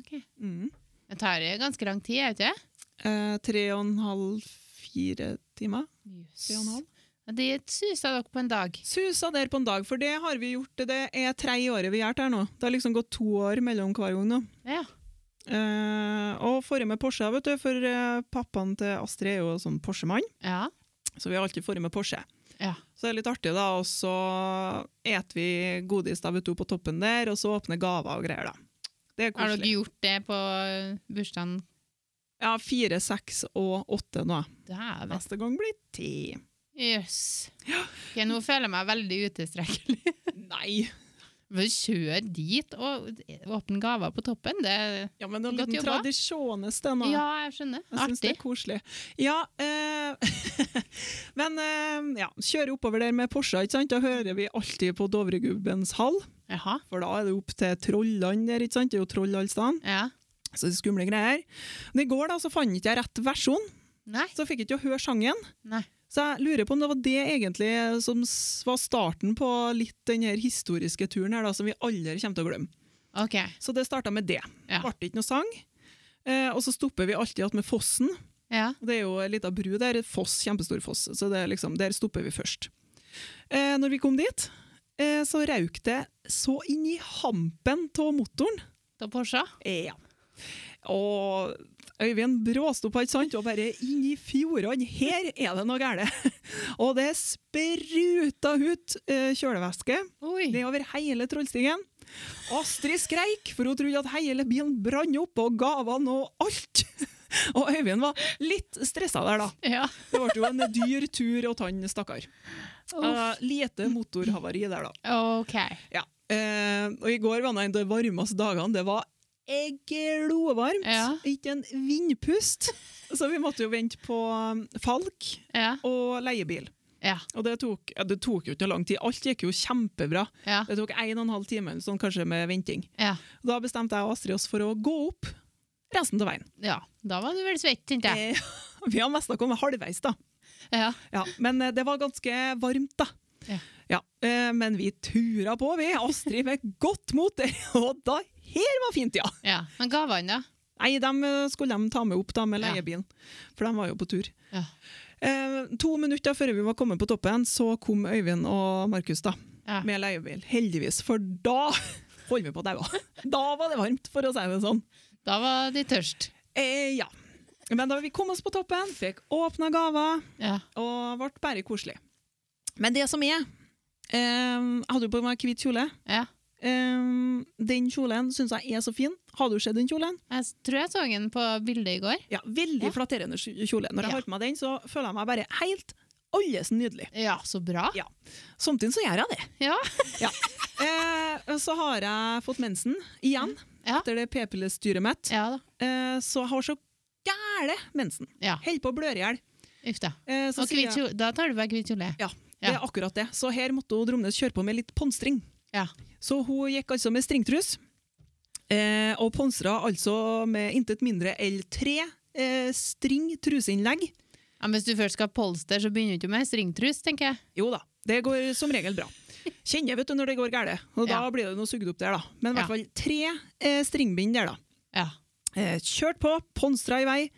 Ok. Mm. Det tar jo ganske lang tid, er det ikke? Eh, tre og en halv, fire timer. Yes. Tre og en halv. Det suser dere på en dag. Susa der på en dag, for det har vi gjort. Det er tredje året vi gjør det her nå. Det har liksom gått to år mellom hver gang nå. Ja. Eh, og forrige med Porsche, vet du, for eh, pappaen til Astrid er jo sånn Porsche-mann, Ja. så vi har alltid forrige med Porsche. Ja. Så det er litt artig da, og så et vi godis da, vet du, på toppen der, og så åpner gaver og greier da. Det er Har koselig. dere gjort det på bursdagen? Ja, fire, seks og åtte nå. Dæven. Neste gang blir ti. Jøss. Ok, nå føler jeg meg veldig utilstrekkelig. Nei, For Kjør dit og åpne gaver på toppen. Det, Ja, men det er en Godt liten jobba. tradisjones, det nå. ja, jeg skjønner. Jeg syns det Artig. er koselig. Ja, eh, men eh, ja, kjører oppover der med Porsche, ikke sant? da hører vi alltid på Dovregubbens hall. Jaha. For da er det opp til trollene der, ikke sant? Det er jo troll alle steder. Ja. Så det er skumle greier. Men i går da, så fant ikke jeg rett versjon, Nei. så jeg fikk ikke å høre sangen. Nei. Så jeg lurer på om det var det egentlig som s- var starten på litt den her historiske turen her da, som vi aldri kommer til å glemme. OK. Så det starta med det. Ja. Det ble ikke noe sang. Eh, og så stopper vi alltid igjen med fossen. Ja. Og Det er jo ei lita bru der, et foss, kjempestor foss, så det er liksom, der stopper vi først. Eh, når vi kom dit, eh, så røyk det så inn i hampen av motoren. Da Porsche. Eh, ja. Og Øyvind bråstoppa, ikke sant, og bare inn i fjordene. Her er det noe galt! Og det spruta ut eh, kjølevæske Oi. nedover hele Trollstigen. Astrid skreik, for hun trodde at hele bilen brant opp, og gavene og alt. Og Øyvind var litt stressa der, da. Ja. Det ble jo en dyr tur og tann, stakkar. Uff. Eh, lite motorhavari der, da. OK. Ja. Eh, og i går var det en av de varmeste dagene. Det var glovarmt. Ja. Ikke en vindpust. Så vi måtte jo vente på um, Falk Ja. og leiebil. Ja. Og det tok, ja, det tok jo ikke noe lang tid. Alt gikk jo kjempebra. Ja. Det tok en og en halv time eller sånn, kanskje med venting. ja. Da bestemte jeg og Astrid oss for å gå opp resten av veien. ja. Da var du vel svett, tenkte jeg. Eh, vi har mest kommet halvveis, da. Ja. Ja, men eh, det var ganske varmt, da. Ja. Ja, eh, men vi tura på, vi. Astrid fikk godt mot det, og da her var fint, ja! ja. Men gavene, da? Nei, dem eh, skulle de ta med opp da med Ja. leiebilen, for de var jo på tur. Ja. Eh, to minutter før vi var kommet på toppen, så kom Øyvind og Markus da, Ja. med leiebil. Heldigvis, for da holder vi på å daue. Da var det varmt, for å si det sånn. Da var de tørst. Eh, ja. Men da vi kom oss på toppen, fikk åpna gaver, Ja. og ble bare koselig. Men det som er eh, Jeg hadde jo på meg hvit kjole. ja. Eh, den kjolen syns jeg er så fin. Har du sett den kjolen? Jeg s- tror jeg så den på bildet i går. Ja, Veldig Ja. flatterende kj- kjole. Når jeg Ja. har på meg den, så føler jeg meg bare helt alles nydelig. Ja, så bra. Samtidig så gjør jeg det. Ja. Eh, så har jeg fått mensen igjen, Ja. etter det p-pillestyret mitt. Ja da. Eh, så jeg har så gæle mensen. Ja. Holder på å blør i hjel. Uff da. Eh, så Og sier jeg- hvit kjole- da tar du på deg hvit kjole. Det er akkurat det. Så her måtte hun Dromnes kjøre på med litt ponstring. Ja. Så hun gikk altså med stringtrus, eh, og ponsra altså med intet mindre enn tre eh, string truseinnlegg. Ja, men hvis du først skal ha polster, så begynner du ikke med stringtrus, tenker jeg. Jo da, det går som regel bra. Kjenner vet du når det går galt, og da Ja. blir det noe sugd opp der, da. Men i Ja. hvert fall tre eh, stringbind der, da. Ja. Eh, kjørt på, ponstra i vei,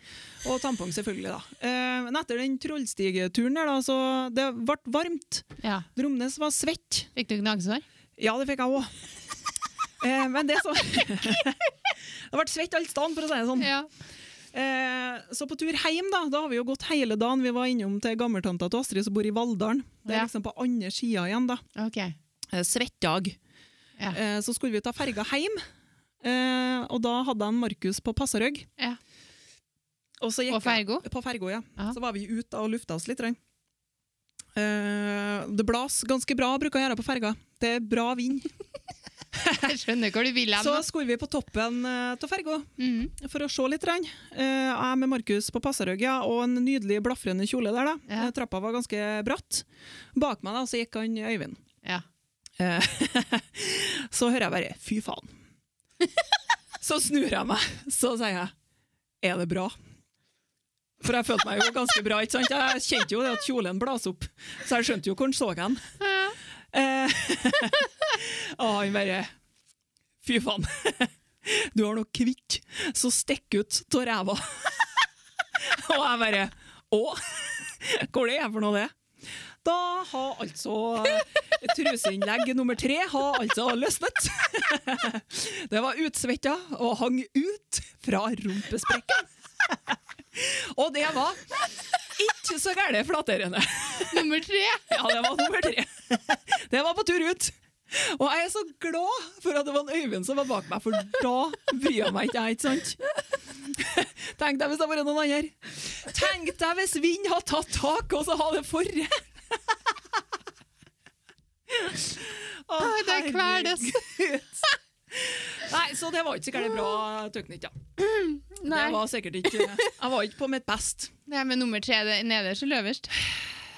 og tampong selvfølgelig, da. Eh, men etter den trollstigeturen der, da, så det ble varmt. ja. Dromnes var svett. Fikk du gnagsår? Ja, det fikk jeg òg. Eh, men det som Det ble svett alt stedet, for å si det sånn. Ja. Eh, så på tur hjem, da, da har vi jo gått hele dagen. Vi var innom til gammeltanta til Astrid som bor i Valldalen. Det er Ja. liksom på andre sida igjen, da. Ok. Eh, Svettdag. Ja. Eh, så skulle vi ta ferga hjem, eh, og da hadde han Markus på Passarøgg. Ja. Og så gikk Og Fergo? jeg- På Fergo, ja. Ja. Så var vi ute og lufta oss litt. grann. Eh, det blas ganske bra, bruker jeg å gjøre på ferga. Det er bra vind. Jeg skjønner hvor du vil hen. Så nå. skulle vi på toppen eh, av ferga Mhm. for å se litt. grann. Eh, Jeg er med Markus på Passarøgga og en nydelig blafrende kjole der. da. Ja. Eh, Trappa var ganske bratt. Bak meg da, så gikk han Øyvind. Ja. Eh, så hører jeg bare 'fy faen'. Så snur jeg meg, så sier jeg 'er det bra'? For jeg følte meg jo ganske bra. ikke sant? Jeg kjente jo det at kjolen blåser opp, så jeg skjønte jo hvor han så hen. Ja. Eh, og han bare Fy faen, du har noe kvikk som stikker ut av ræva. og jeg bare Å? Hvor det er for noe, det? Da har altså truseinnlegg nummer tre har altså løsnet. det var utsvetta og hang ut fra rumpesprekken. og det var ikke så gærent flatterende. Nummer tre! Ja, det var nummer tre. Det var på tur ut. Og jeg er så glad for at det var en Øyvind som var bak meg, for da bryr jeg meg ikke, jeg, ikke sant? Tenk deg hvis det hadde vært noen andre. Tenk deg hvis vind hadde tatt tak, og så hadde det forrige. Å, Å, det kveles. herregud. Nei, så det var ikke sikkert det bra teknikk, da. Det Nei. var sikkert ikke Jeg var ikke på mitt best. Det her med nummer tre, det er nederst eller øverst?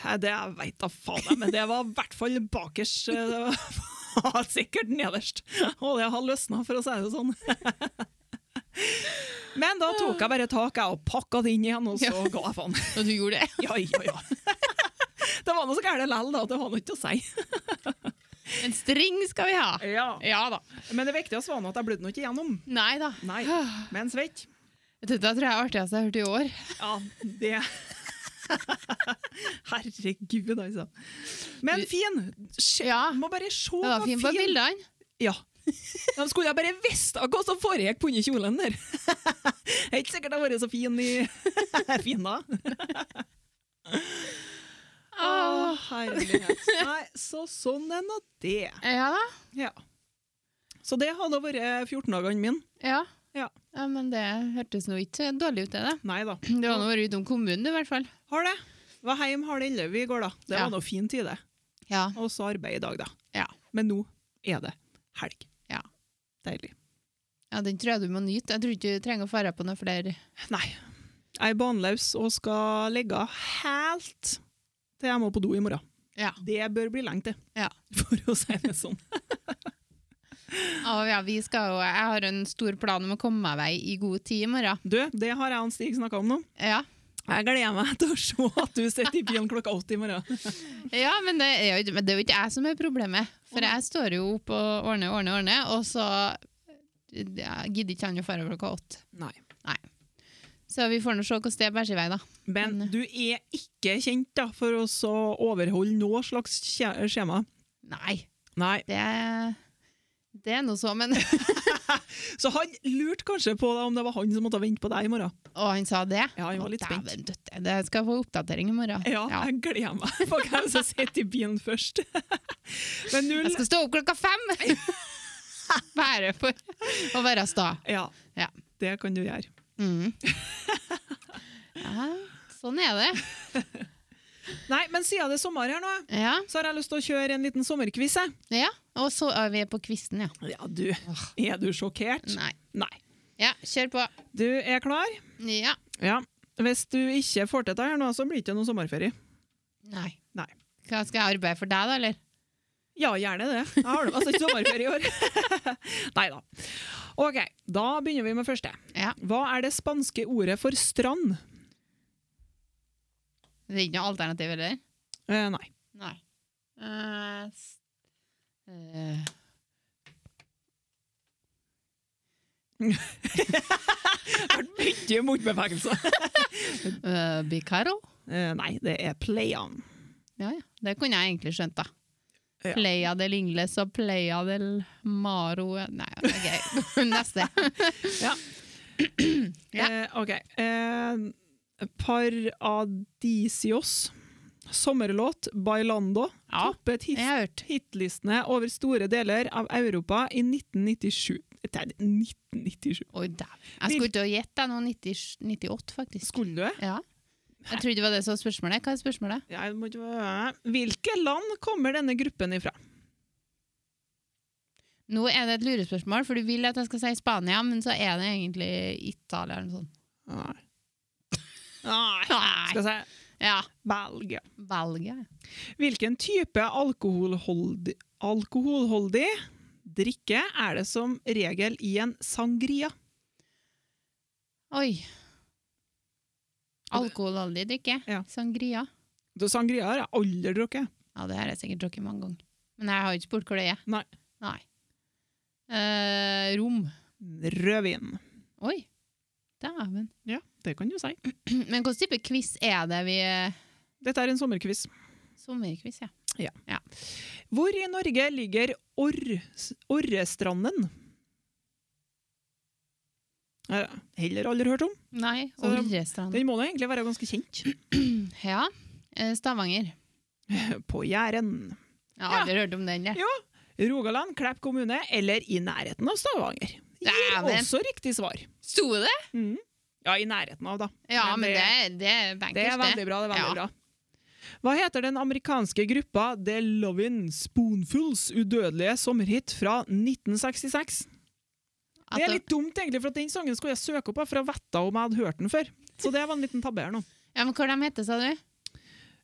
Nei, Det jeg veit da faen, jeg, men det var i hvert fall bakers. eh, Det var sikkert nederst. Og det har løsna, for å si det sånn. Men da tok jeg bare tak jeg og pakka det inn igjen, og så ga jeg faen. Og du gjorde det? Ja, ja, ja. Det var noe så gærent likevel, da. Det var noe ikke å si. En string skal vi ha! Ja da. Men det viktigste var nå at jeg blødde nå ikke igjennom. Nei da. Nei, men svett. Dette tror jeg er artigst jeg har hørt i år. Ja, det Herregud, altså. Men Du- fin! Se, Ja. Må bare se Det var hva fint på bildene. Ja. De skulle jeg bare visst hva som foregikk på under kjolen der. Jeg er ikke sikkert jeg har vært så fin i fin da. Å, Åh. herlighet. Nei, så sånn er nå det. Ja da. Ja. Så det hadde vært eh, 14-dagene mine. Ja. Ja. Ja, Men det hørtes nå ikke dårlig ut, det. da. Nei da. Du har nå vært utom kommunen, du, i hvert fall. Har det. Var hjemme halv elleve i går, da. Det Ja. var nå fint i det. Ja. Og så arbeid i dag, da. Ja. Men nå er det helg. Ja. Deilig. ja, Den tror jeg du må nyte. Jeg tror ikke du trenger å fare på noe flere. Nei. Jeg er banløs og skal ligge helt til jeg må på do i morgen. Ja. Det bør bli lenge til, Ja. for å si det sånn. Å, ja, vi skal jo, jeg har en stor plan om å komme meg vei i god tid i morgen. Du, det har jeg og Stig snakka om nå. Ja, Jeg gleder meg til å se at du sitter i bilen klokka åtte i morgen. ja men, det er jo, ikke- men det er jo ikke jeg som er problemet. For Å, nei. jeg står jo opp og ordner, ordner, ordner, og så ja, gidder ikke han å fare klokka åtte. Nei. Så vi får nå se hvordan det bærer seg i vei, da. Men du er ikke kjent da, for å så overholde noe slags skje- skjema. Nei, Nei. det, det er nå så, men Så han lurte kanskje på da, om det var han som måtte vente på deg i morgen. Og han sa det? Ja, han var litt Å, spent. dæven døtte, Det skal jeg få oppdatering i morgen. Ja, Ja. jeg gleder meg for hvem som sitter i bilen først. Men null Jeg skal stå opp klokka fem! Bare for å være sta. ja, Ja. det kan du gjøre. Mm. Ja, sånn er det. Nei, men siden det er sommer her nå, Ja, så har jeg lyst til å kjøre en liten sommerquiz. jeg. ja. Og så er vi på kvisten, ja. Ja, du. Er du sjokkert? Nei. Nei. Ja, kjør på. Du er klar? Ja. Ja. Hvis du ikke får til dette her nå, så blir det ikke noen sommerferie. Nei. Nei. Hva skal jeg arbeide for deg, da, eller? Ja, gjerne det. Jeg har det altså ikke sommerferie i år. Nei da. OK, da begynner vi med første. Ja. Hva er det spanske ordet for strand? Det er ikke noe alternativ, eller? Eh, nei. Nei. Eh, s- eh, Mye motbevegelser. eh, Bicaro? Eh, nei, det er play-on. Ja, ja. Det kunne jeg egentlig skjønt, da. Ja. Playa del Ingles og Playa del Maro Nei, ok. Neste. Ja. Eh, OK. Eh, Paradisios. Sommerlåt Bailando Ja, toppet jeg hit har hørt. hitlistene over store deler av Europa i 1997. Det er 1997. Oi, dæven. Jeg skulle ikke ha gjett deg nå 90, 98, faktisk. Skulle du? Ja. Jeg trodde det var det som var spørsmålet. Hva er spørsmålet? Jeg må ikke være- Hvilke land kommer denne gruppen ifra? Nå er det et lurespørsmål, for du vil at jeg skal si Spania, men så er det egentlig Italia eller noe sånt. Nei. Nei. Nei! Skal jeg si Ja. Belgia. Belgia. Hvilken type alkoholholdig, alkoholholdig drikke er det som regel i en sangria? Oi. Alkoholholdig drikke. Ja. Sangria. Du, sangria har jeg aldri drukket. Ja, det har jeg sikkert drukket mange ganger. Men jeg har ikke spurt hvor det er. Nei. Nei. Eh, rom. Rødvin. Oi. Dæven. Ja, det kan du si. Men hvilken type quiz er det vi eh, Dette er en sommerquiz. Sommerquiz, ja. Hvor i Norge ligger Orr, Orrestranden? Eh, Heller aldri hørt om. Nei, Så det- Orrestrand. Den må da egentlig være ganske kjent. Ja. eh, Stavanger. På Jæren. Jeg har aldri hørt om den. Jeg. Jo, Rogaland, Klepp kommune eller i nærheten av Stavanger. Gir Dæven. også riktig svar. Sto det? Mhm. Ja, i nærheten av, da. Ja, Men men det, det- det er bankers, Det er veldig bra. det er veldig Ja. bra. Hva heter den amerikanske gruppa The Lovin' Spoonfuls udødelige sommerhit fra 1966? Det er At- litt dumt, egentlig, for at den sangen skulle jeg søke opp, da, for jeg vetta om jeg hadde hørt den før. Så det var en liten tabbe her nå. ja, men Hvor de heter, sa du?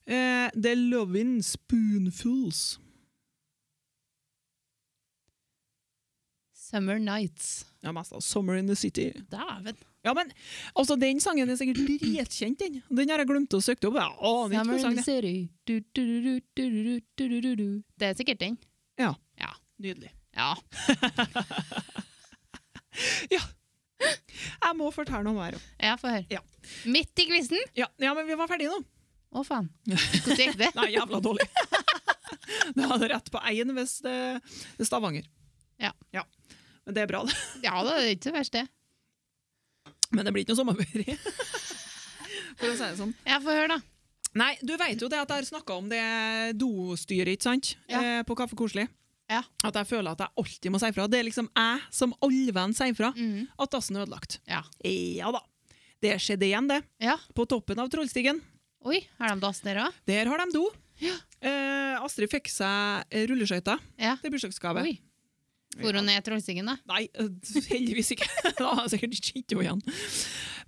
Eh, The Lovin' Spoonfuls. Summer Nights. Ja, mest av Summer in the City. Dæven. Ja, men altså, Den sangen er sikkert dritkjent, den. Den har jeg glemt å søke opp. Jeg aner ikke Summer hvilken in sang the det er. city. Du, du, du, du, du, du, du, du, du. Det er sikkert den. Nydelig. Ja. Jeg må fortelle noe mer. Ja, få høre. Ja. Midt i quizen? Ja, ja, men vi var ferdige nå. Å, faen. Hvordan gikk det? Nei, jævla dårlig. det hadde rett på én hvis det det er Stavanger. Ja. Men det er bra, det. Ja, det er ikke så verst, det. Men det blir ikke noe sommerferie. For å si det sånn. Ja, få høre, da. Nei, du vet jo det at jeg har snakka om det dostyret, ikke sant? Ja. Eh, på Kaffe Koselig. Ja. At jeg føler at jeg alltid må si fra. Det er liksom jeg som allvenn sier fra Mhm. at dassen er ødelagt. Ja. Ja da. Det skjedde igjen, det. ja. På toppen av Trollstigen. Oi, har de dass der òg? Der har de do. Ja. Eh, Astrid fikk seg eh, rulleskøyter Ja. til bursdagsgave. Oi. For hun er Trollstigen, da? Nei, øh, heldigvis ikke. da har jeg sikkert ikke kjent henne igjen.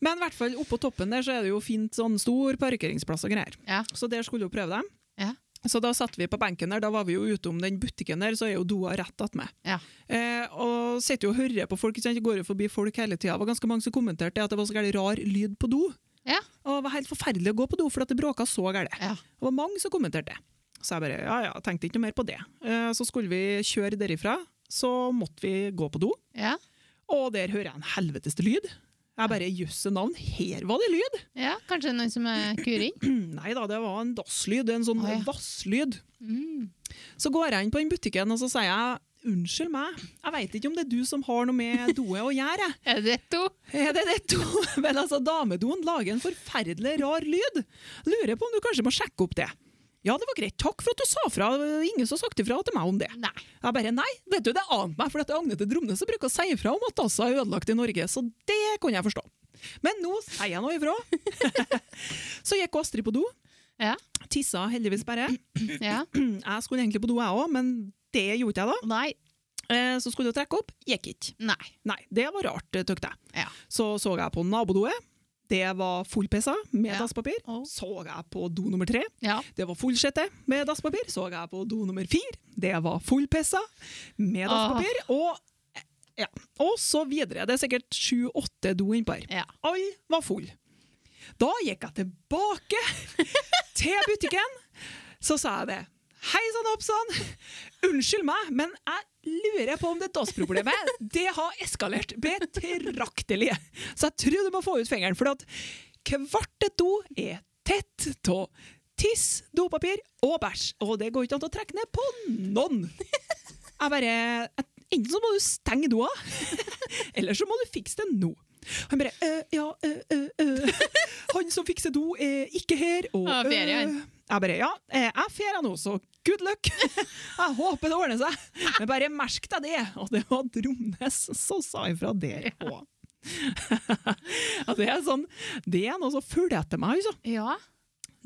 Men i hvert fall oppå toppen der så er det jo fint sånn stor parkeringsplass og greier. Ja. Så der skulle hun prøve dem. Ja. Så da satt vi på benken der, da var vi jo utom den butikken der, så er jo doa rett attmed. Ja. Eh, og sitter jo og hører på folk, ikke sant? går jo forbi folk hele tida. Det var ganske mange som kommenterte det at det var så gærlig rar lyd på do. Ja. Og det var helt forferdelig å gå på do, for at det bråka så gærent. Ja. Det var mange som kommenterte det. Så jeg bare, ja ja, tenkte ikke noe mer på det. Eh, så skulle vi kjøre derifra, så måtte vi gå på do. Ja. Og der hører jeg en helveteste lyd. Jeg bare, jøsse navn, her var det lyd! ja. Kanskje noen som er kuring? Nei da, det var en dasslyd, en sånn Å, ja. vasslyd. Mm. Så går jeg inn på den butikken og så sier jeg, unnskyld meg, jeg vet ikke om det er du som har noe med doet å gjøre. jeg. Er det to? Er det det to? Men altså, damedoen lager en forferdelig rar lyd. Lurer på om du kanskje må sjekke opp det. Ja, det var greit. Takk for at du sa fra. Ingen som har sagt ifra til meg om det. Nei. Jeg bare nei, vet du, det ante meg, for det er Agnete Dromne som bruker å si ifra om at Dassa er ødelagt i Norge, så det kunne jeg forstå. Men nå sier jeg noe ifra. så gikk Astrid på do. Ja. Tissa heldigvis bare. Ja. Jeg skulle egentlig på do, jeg òg, men det gjorde ikke jeg da. Nei. Eh, Så skulle hun trekke opp, gikk ikke. Nei. Nei, det var rart, tykte jeg. Ja. Så så jeg på nabodoet. Det var fullpissa med Ja. dasspapir. Å. Så jeg på do nummer tre. Ja. Det var fullsjette med dasspapir. Så jeg på do nummer fire. Det var fullpessa med dasspapir. Og, ja. og så videre. Det er sikkert sju-åtte do innpå her. Ja. Alle var full. Da gikk jeg tilbake til butikken. Så sa jeg det. Hei sann, hopp sann. Unnskyld meg, men jeg lurer på om det dassproblemet det har eskalert betraktelig. Så jeg tror du må få ut fingeren, for at hvert et do er tett av tiss, dopapir og bæsj. Og det går ikke an å trekke ned på noen. Jeg bare Enten så må du stenge doa, eller så må du fikse det nå. Han bare «Øh, Ja, øh, øh, øh. Han som fikser do, er ikke her. Og, Ja, ferie, «Øh». han. Jeg bare Ja, eh, jeg ferier nå, så good luck. Jeg håper det ordner seg. Men bare merk deg det. Og det var Dromnes som sa ifra der òg. Ja, det er sånn Det er noe som følger etter meg, altså. ja.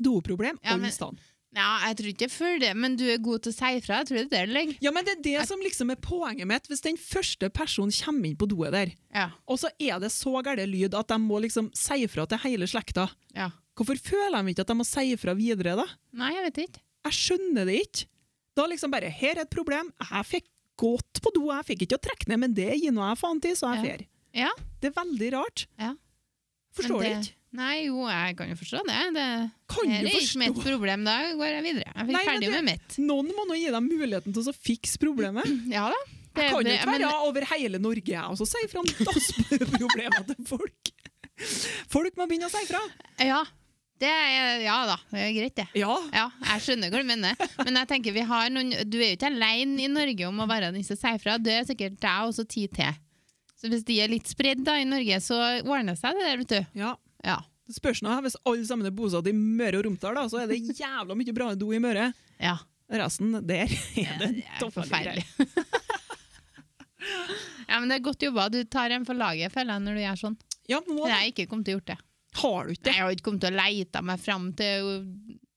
Doproblem Ja, men- all stand. Ja, jeg tror ikke jeg føler det, men du er god til å si ifra. Jeg tror det er der det ligger. Ja, men det er det som liksom er poenget mitt. Hvis den første personen kommer inn på doet der, Ja. og så er det så gæren lyd at de må liksom si ifra til hele slekta, ja. hvorfor føler de ikke at de må si ifra videre, da? Nei, jeg vet ikke. Jeg skjønner det ikke. Da liksom bare Her er et problem. Jeg fikk gått på do, jeg fikk ikke å trekke ned, men det gir nå jeg faen til, så jeg Ja. fer. Ja, Det er veldig rart. Ja. men Forstår det... det- ikke. Nei, jo, jeg kan jo forstå det. Det Kan her du er ikke mitt forstå? problem. Da går jeg videre. Jeg blir Nei, men ferdig det- med mitt. Noen må nå gi dem muligheten til å fikse problemet. Ja da. Jeg kan jo det- ikke men- være over hele Norge jeg, og så si fra om dassproblemer til folk. Folk må begynne å si fra. Ja. Det er, ja da, det er greit det. Ja, Ja, jeg skjønner hva du mener. Men jeg tenker vi har noen, du er jo ikke alene i Norge om å være den som sier fra. Det er sikkert deg og så ti til. Så hvis de er litt spredd da i Norge, så ordner seg det der, vet du. ja. Ja. Det spørs nå, Hvis alle sammen er bosatt i Møre og Romsdal, da, så er det jævla mye bra do i Møre. ja. Resten, der er det, Det er toffelige greier. forferdelig. ja, men det er godt jobba. Du tar en for laget, føler jeg, når du gjør sånn. Ja, må Men det. jeg har ikke kommet til å gjort det. Har du ikke Jeg det? har ikke kommet til å leite meg fram til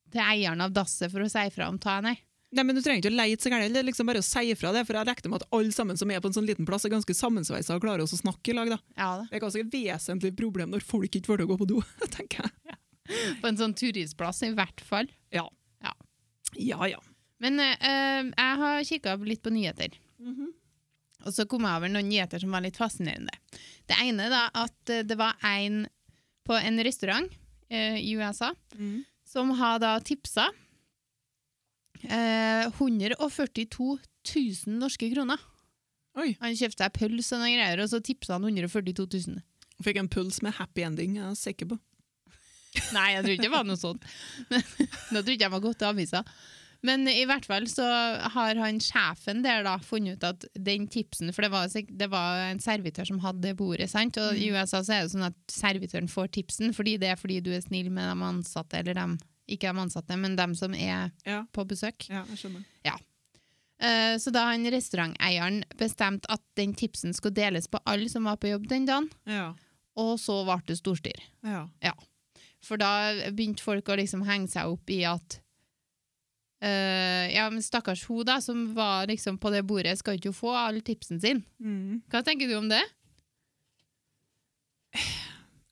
til eieren av dasset for å si fra om ta nei. Nei, men Du trenger ikke å leite så gærent, det er liksom bare å si ifra det. For jeg regner med at alle sammen som er på en sånn liten plass, er ganske sammensveisa og klarer også å snakke i lag. da. Ja da. Det er ganske et vesentlig problem når folk ikke får til å gå på do, tenker jeg. På en sånn turistplass i hvert fall. Ja. Ja. Ja, ja. Men eh, eh, jeg har kikka litt på nyheter. Mhm. Og så kom jeg over noen nyheter som var litt fascinerende. Det ene da, at eh, det var en på en restaurant eh, i USA Mm. som har da tipsa eh, 142 000 norske kroner. Oi. Han kjøpte seg pølse og noen greier, og så tipsa han 142 000. Fikk en puls med happy ending, jeg er sikker på. Nei, jeg tror ikke det var noe sånt. Men, nå tror ikke jeg var gått til avisa. Men i hvert fall så har han sjefen der da funnet ut at den tipsen For det var, sik- det var en servitør som hadde det bordet, sant? Og i USA så er det sånn at servitøren får tipsen fordi det er fordi du er snill med de ansatte, eller dem, ikke de ansatte, men dem som er Ja. på besøk. Ja, jeg skjønner. Eh, Så da han restauranteieren bestemte at den tipsen skulle deles på alle som var på jobb den dagen, Ja, og så ble det storstyr. ja. For da begynte folk å liksom henge seg opp i at eh, Ja, men stakkars hun da, som var liksom på det bordet, skal ikke hun få all tipsen sin. Mm. Hva tenker du om det?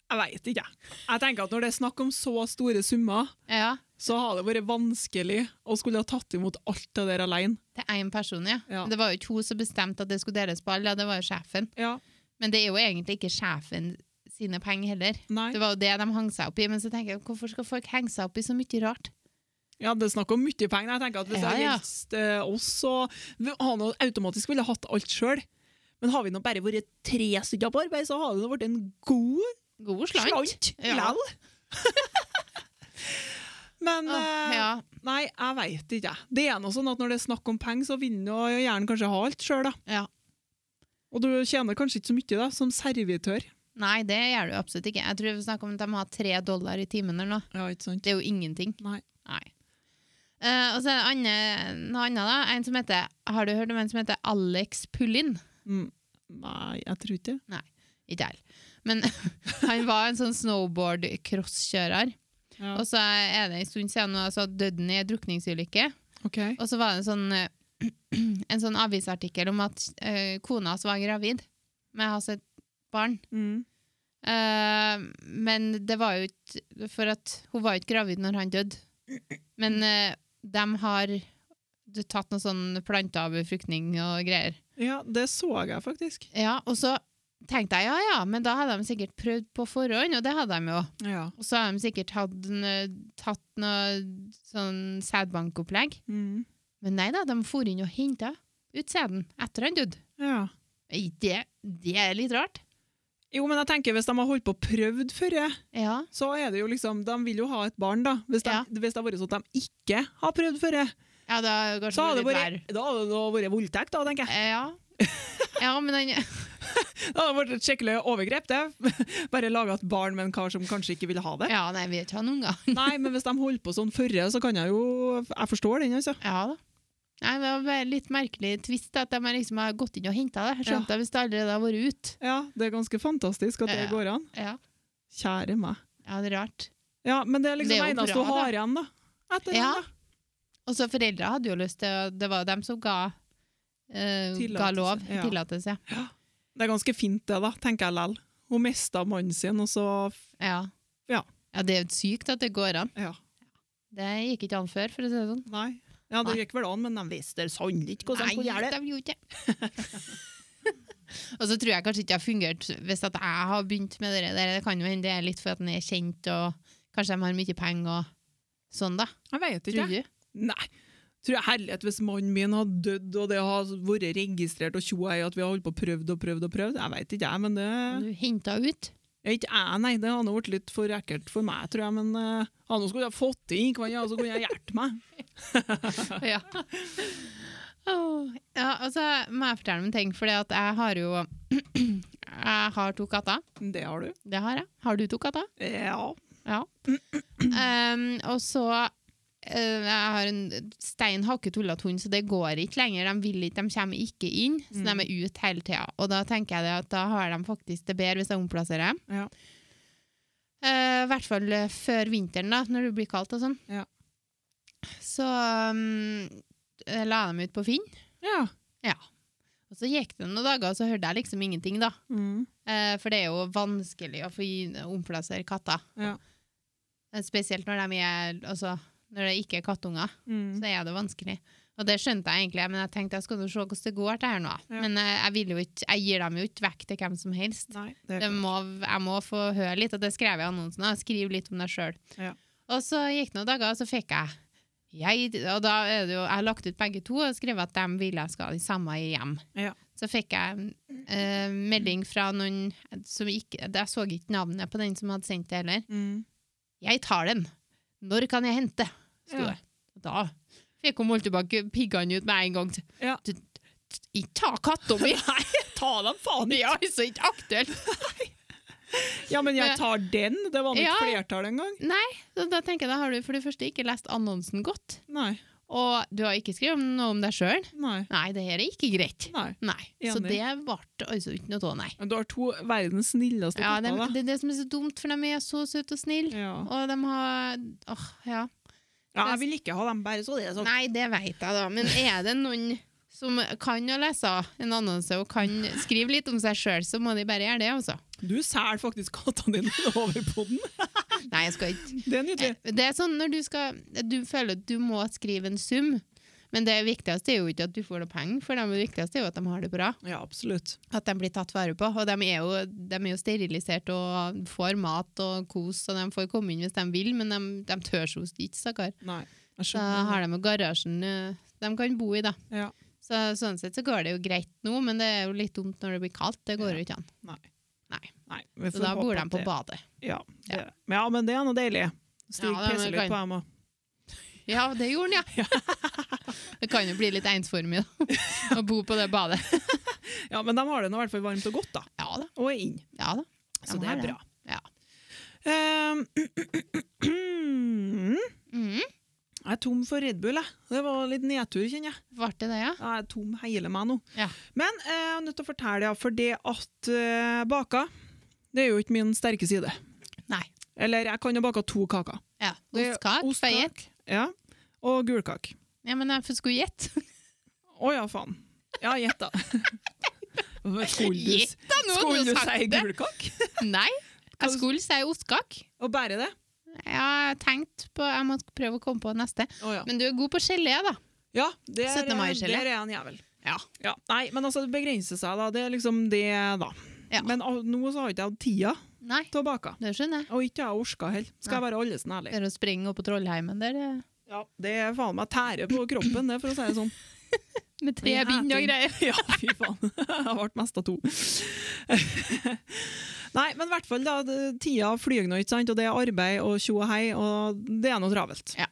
Jeg veit ikke, jeg. Jeg tenker at når det er snakk om så store summer, Ja, så har det vært vanskelig å skulle ha tatt imot alt det der alene. til én person, ja. Ja. Det var jo ikke hun som bestemte at det skulle deles på alle, ja, det var jo sjefen. Ja. Men det er jo egentlig ikke sjefen sine penger heller. Nei. Det var jo det de hang seg opp i. Men så tenker jeg, hvorfor skal folk henge seg opp i så mye rart? Ja, det er snakk om mye penger. Jeg tenker at Hvis Ja, jeg ja. helst eh, oss, så vi- har nå automatisk ville hatt alt sjøl. Men har vi nå bare vært tre stykker på arbeid, så har det nå vært en god God slant. slant Ja. lell. Men Åh, eh, Ah, ja. nei, jeg veit ikke. jeg. Det er nå sånn at når det er snakk om penger, så vil en jo gjerne kanskje ha alt sjøl, da. Ja. Og du tjener kanskje ikke så mye da, som servitør. Nei, det gjør du absolutt ikke. Jeg tror vi snakker om at de har tre dollar i timen eller noe. Ja, ikke sant? Det er jo ingenting. Nei. Eh, og så er det andre, noe annet, da. En som heter, har du hørt om en som heter Alex Pullin? Mm. Nei, jeg tror ikke det. Ikke jeg. Men han var en sånn snowboard-crosskjører. Ja. Og så er det en stund siden nå, altså døde han i en drukningsulykke. Ok. Og så var det en sånn, eh, en sånn avisartikkel om at eh, kona hans var gravid med hans et barn. Mm. Eh, men det var jo ikke For at hun var jo ikke gravid når han døde. Men eh, de har tatt noe sånn planteavbefruktning og greier. Ja, det så jeg faktisk. Ja, Og så tenkte jeg ja ja, men da hadde de sikkert prøvd på forhånd, og det hadde de jo. Ja. Og så har de sikkert hatt, en, eh, tatt noe sånn sædbankopplegg. Mm. Men nei da, de for inn og henta ut sæden etter han døde. Ja. Ei, Det, det er litt rart. Jo, men jeg tenker hvis de har holdt på og prøvd før, Ja. så er det jo liksom, de vil jo ha et barn da. Hvis de- Ja. hvis det har vært sånn at de ikke har prøvd før, ja da har det så kanskje har vært det litt verre. vært, da har det da vært voldtekt da, tenker jeg. Eh, Ja. ja, men han Da har det vært et skikkelig overgrep det. Bare laget et barn med en kar som kanskje ikke ville ha det. Ja, nei, vi er ikke han unger. Nei, men hvis de holder på sånn før, så kan jeg jo, jeg forstår den altså. Ja da. Nei, det var bare litt merkelig twist at de har liksom har gått inn og henta det. Jeg skjønte det hvis det allerede har vært ut. Ja, det er ganske fantastisk at det Ja. går an. Ja. Kjære meg. ja, det er rart. Ja, men det er liksom Det er jo eneste bra, du har igjen da. Etter den, Ja. da. Og så foreldre hadde jo lyst til å- Det var jo dem som ga, eh, ga Tillatelse, lov. ja. Tillatelse. Det er ganske fint det da, tenker jeg lel. Hun mistet mannen sin, og så, Ja. Ja. ja, det er jo sykt at det går an. ja. Det gikk ikke an før, for å si det sånn. Nei. Ja, det Nei. gikk vel an, men de visste sannelig ikke hvordan de skulle gjøre det. de gjorde ikke Og så tror jeg kanskje ikke det har fungert hvis at jeg har begynt med det der. Det kan jo hende det er litt for at den er kjent, og kanskje de har mye penger og sånn, da. Jeg vet Tror du? Nei. Tror jeg herlighet hvis mannen min hadde dødd, og det har vært registrert og tjoa i at vi har holdt på og prøvd og prøvd og prøvd. Jeg vet ikke, jeg, men det Du henta ut? Ja, Ikke jeg, nei. Det hadde vært litt for ekkelt for meg, tror jeg, men eh, han skulle jeg ha fått det inn, ikke sant, ja, så kunne jeg hjulpet meg. ja. Åh, ja, altså, må jeg fortelle om en ting, for jeg har jo Jeg har to katter. Det har du. Det har jeg. Har du to katter? Ja. Ja. Ehm, og så eh, Jeg har en stein hakketullete hund, så det går ikke lenger. De vil ikke, de kommer ikke inn, så Mm. de er ute hele tida. Og da tenker jeg det at da har de faktisk det bedre hvis jeg omplasserer dem. Ja. Eh, I hvert fall eh, før vinteren, da, når det blir kaldt og sånn. Ja. så um, jeg la jeg dem ut på Finn. Ja. Og så gikk det noen dager, og så hørte jeg liksom ingenting, da. Mm. Eh, for det er jo vanskelig å få gi- omplassere katter. Ja. Eh, Spesielt når, de er, altså, når det ikke er kattunger, Mm. så er det vanskelig. Og det skjønte jeg egentlig, men jeg tenkte jeg skal nå se hvordan det går til her nå. Ja. Men eh, jeg, vil jo ikke, jeg gir dem jo ikke vekk til hvem som helst. Nei, det Det må, jeg må få høre litt, og det skrev jeg i annonsen. da. Skriv litt om deg sjøl. Ja. Og så gikk det noen dager, og så fikk jeg jeg, og da er det jo, jeg har lagt ut begge to og skrevet at de vil jeg skal ha de samme i hjem. Ja. Så fikk jeg eh, melding fra noen som ikke Jeg så ikke navnet på den som hadde sendt det heller. Mm. 'Jeg tar den. Når kan jeg hente?' sto Ja. det. Da fikk hun holdt tilbake piggene ut med en gang. Ja. Du- du- Ikke ta katta mi! Nei, ta dem faen Det i! er altså ikke aktuelt. Ja, men jeg tar den! Det var Eh, ikke Ja. flertall engang. Så da tenker jeg, da har du for det første ikke lest annonsen godt, Nei. og du har ikke skrevet noe om deg sjøl. Nei. Nei, det her er ikke greit. Nei. Nei, Så Enig. det ble altså ikke noe av, nei. Men du har to verdens snilleste Ja, dem- katter, da. det er det som er så dumt, for de er så søte og snille. Ja. Og de har Åh, ja. ja, jeg vil ikke ha dem bare så det er sånn. Nei, det vet jeg, da. Men er det noen som kan å lese en annonse og kan skrive litt om seg sjøl, så må de bare gjøre det, altså. Du selger faktisk kattene dine over på den. Nei, jeg skal ikke Det er nydelig. Det er sånn når du skal Du føler at du må skrive en sum, men det viktigste er jo ikke at du får noe penger, for det viktigste er jo at de har det bra. Ja, absolutt. At de blir tatt vare på. Og de er jo, de er jo sterilisert og får mat og kos, og de får komme inn hvis de vil, men de, de tør så ikke, stakkar. Nei. Jeg Så skjønner. har de jo garasjen eh, de kan bo i, da. Ja. Så sånn sett så går det jo greit nå, men det er jo litt dumt når det blir kaldt. Det går jo ikke an. Nei, vi Så får da håpe bor at de på det- badet. Ja, det. Men ja, men det er noe deilig. Stig Ja, det er pisser vel litt på dem òg. Ja, det gjorde han, ja! Det kan jo bli litt ensformig da, å bo på det badet. Ja, men de har det nå i hvert fall varmt og godt, da. Ja da. Og er inn. Ja da. Så De det har er det. bra. Ja. Ehm, Mm. jeg er tom for Red Bull, jeg. Det var litt nedtur, kjenner jeg. Ble det det, ja? Jeg er tom hele meg nå. Ja. Men eh, jeg er nødt til å fortelle, ja, for det at eh, baka, det er jo ikke min sterke side. Nei. Eller jeg kan jo bake to kaker. ja. Det er Ostkak, ostkak. feiet. Ja. Og gulkake. Ja, men jeg skulle gjette. Å ja, faen. Ja, gjett da. Skulle du- Gjett da, nå har Skulle du du sagt si det. gulkake? Nei, Hva jeg du- skulle si ostkak. Og bare det? Ja, jeg tenkte på Jeg må prøve å komme på neste. Å ja. Men du er god på gelé, da. ja der, 17. mai er- gelé. Der er han jævel. Ja. Ja. Nei, men altså, det begrenser seg, da. Det er liksom det, da. Ja. Men ah, nå så har ikke jeg hatt tida Nei, til å bake. det skjønner jeg. Og ikke jeg orka heller. Skal jeg være allesen ærlig. Det er å springe opp på Trollheimen der eh, Ja, det er faen meg tære på kroppen, det, for å si det sånn. med tre Men jeg bind og tenker- greier. Ja, fy faen. Jeg ble mest av to. Nei, men i hvert fall, da. det- Tida flyr nå, ikke sant, og det er arbeid og tjo og hei, og det er noe travelt. Ja.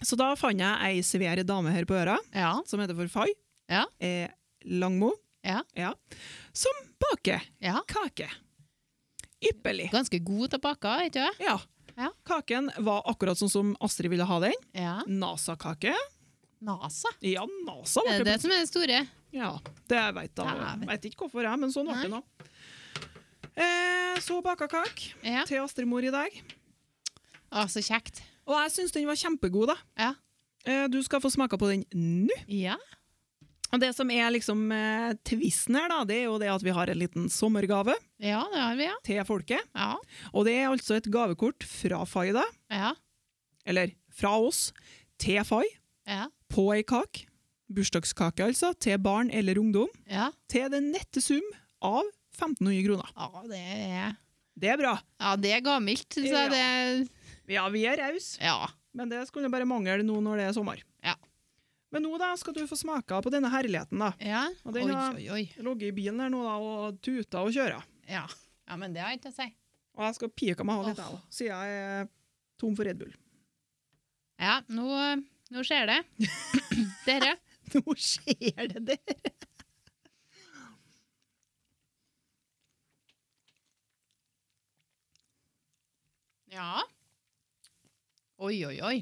Så da fant jeg ei svær dame her på øra, Ja. som heter for Fay. Ja. Eh, Langmo. Ja. Som baker ja. kake. Ypperlig. Ganske god til å bake, vet du. Ja. Ja. Kaken var akkurat sånn som Astrid ville ha den. Ja. NASA-kake. NASA. Ja, NASA Eh, Det er ble det som er det store. Ja, det veit jeg. Dæven. Jeg vet ikke hvorfor, jeg, men sånn ble det nå. Eh, så baka kake Ja. til Astrid-mor i dag. Å, så kjekt. Og jeg syns den var kjempegod, da. Ja. Eh, du skal få smake på den nå. Ja. Og det som er liksom eh, tvisten her, da, det er jo det at vi har en liten sommergave Ja, det har vi, ja. til folket. Ja. Og det er altså et gavekort fra Faida, Ja. eller fra oss, til Fai, Ja. på ei kake. Bursdagskake, altså, til barn eller ungdom. ja. Til den nette sum av 1500 kroner. ja det er Det er bra. Ja, det er gammelt, så Ja. det Ja, vi er rause. Ja. Men det skulle bare mangle nå når det er sommer. Ja. Men nå da skal du få smake på denne herligheten. da. ja. Og den Oi, har- oi, oi. Jeg ligger i bilen her nå da, og tuter og kjører. Ja. ja, men det har jeg ikke å si. Og jeg skal pike meg av litt, Åh. jeg, da, siden jeg er tom for Red Bull. Ja, nå, nå skjer det. Dere. Nå skjer det der! Ja. Oi, oi, oi.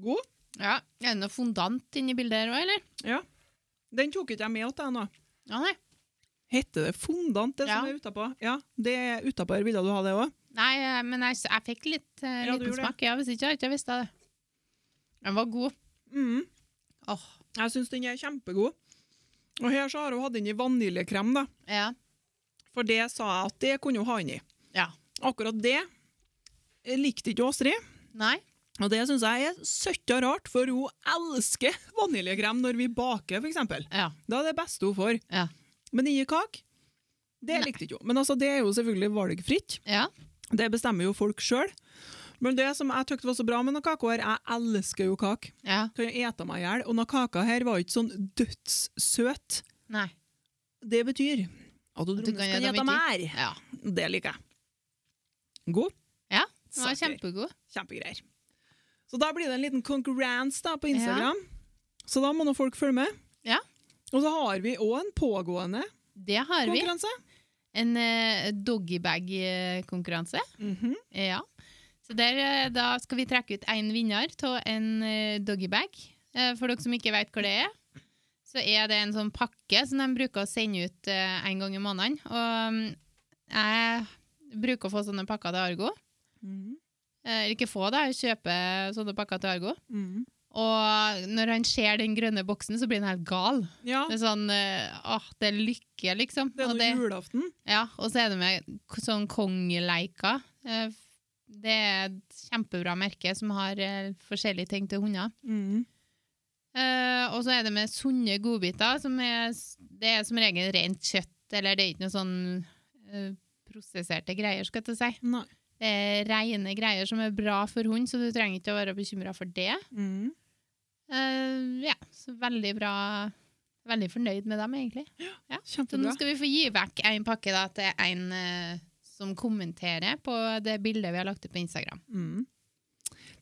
God. Ja, Er det noe fondant inni bildet her òg, eller? Den tok ikke jeg med til deg nå. Ja, nei. Heter det fondant, det som Ja. er utapå? Ja, det er utapå her. Ville du ha det òg? Nei, eh, men jeg, s- jeg fikk litt eh, Ja, du liten gjorde det. smak, ja, hvis ikke hadde jeg ikke visst det. Den var god. Mm. Åh, Jeg syns den er kjempegod. Og her så har hun hatt den i vaniljekrem, da. ja. For det sa jeg at det kunne hun ha inn i. Ja. Akkurat det likte ikke Åstrid. Nei. Og det syns jeg er søtt og rart, for hun elsker vaniljekrem når vi baker, f.eks. Ja. Da er det beste hun får. Ja. Men i kake, det Nei. likte ikke hun. Men altså, det er jo selvfølgelig valgfritt. Ja. Det bestemmer jo folk sjøl. Men det som jeg tykte var så bra med noen kaker, her, jeg elsker jo kake. ja. Kan jo ete meg i hjel. Og noen kaker her var ikke sånn dødssøt. Nei. Det betyr at du, At du kan ete mer. Ja. Det liker jeg. God. Ja, Den var Saker. kjempegod. Kjempegreier. Så da blir det en liten konkurranse da på Instagram. Så da må nå folk følge med. Ja. Og så har vi òg en pågående Det har vi. konkurranse. En eh, doggybag-konkurranse. Mhm. Ja. Så der, eh, da skal vi trekke ut én vinner av en eh, doggybag. Eh, For dere som ikke vet hva det er, så er det en sånn pakke som de bruker å sende ut eh, en gang i måneden. Og mm, jeg bruker å få sånne pakker til Argo. Mhm. Eh, Eller ikke få, da. Jeg kjøper sånne pakker til Argo. Mhm. Og når han ser den grønne boksen, så blir han helt gal. Ja, Det er sånn eh, Åh, det er lykke, liksom. det er Og nå julaften. ja, og så er det med k- sånn kongeleika. Eh, f- Det er et kjempebra merke som har eh, forskjellige ting til hunder. Mhm. Eh, og så er det med sunne godbiter. Som er, s- det er som regel rent kjøtt, eller det er ikke noe sånn eh, prosesserte greier, skal jeg til å si. Nei. Det er rene greier som er bra for hund, så du trenger ikke å være bekymra for det. Mhm. Eh, ja, så veldig bra. Veldig fornøyd med dem, egentlig. Så nå Kjempebra. skal vi få gi vekk en pakke da, til en eh, som kommenterer på det bildet vi har lagt ut på Instagram. Mm.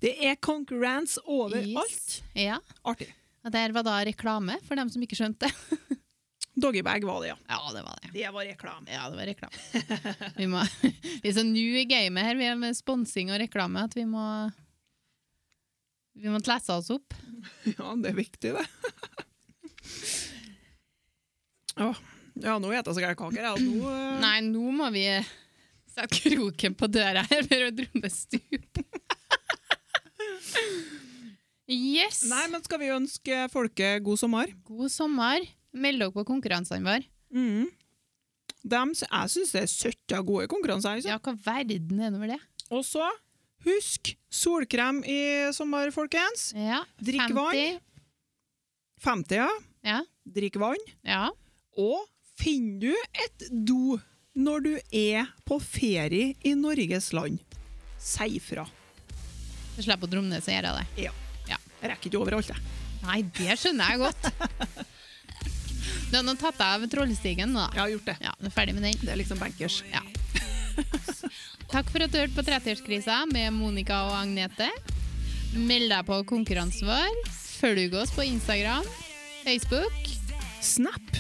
Det er konkurranse overalt. Yes. Ja, Artig. og Der var da reklame, for dem som ikke skjønte. Doggybag var det, ja. Ja, det var det. Det var reklame. Ja, det var reklame. Vi, må, vi er så new i gamet her, vi er med sponsing og reklame, at vi må vi må lese oss opp. Ja, det er viktig, det. Åh. Ja, nå spiser jeg så gærne kaker. jeg, og Nå, eh, Nei, nå må vi eh, sette kroken på døra her for å drømme stup. Yes! nei, men skal vi ønske folket god sommer? God sommer. Meld dere på konkurransene våre. Mhm. Dem sy- jeg syns det er søtt av gode konkurranser. altså. Ja, hva verden er det over det? Og så husk solkrem i sommer, folkens. Ja, Drikk 50. vann. 50, ja. Ja, Drikk vann. ja. Og finner du et do når du er på ferie i Norges land, si fra. Så slipper Dromnes å gjøre det. Jeg rekker ikke overalt, jeg. Nei, det skjønner jeg godt. Du har nå tatt av trollstigen nå. Jeg har gjort det. Ja, du er ferdig med den. Det er liksom bankers. Ja. Takk for at du hørte på 30-årskrisa med Monica og Agnete. Meld deg på konkurransen vår. Følg oss på Instagram, Facebook. Snap.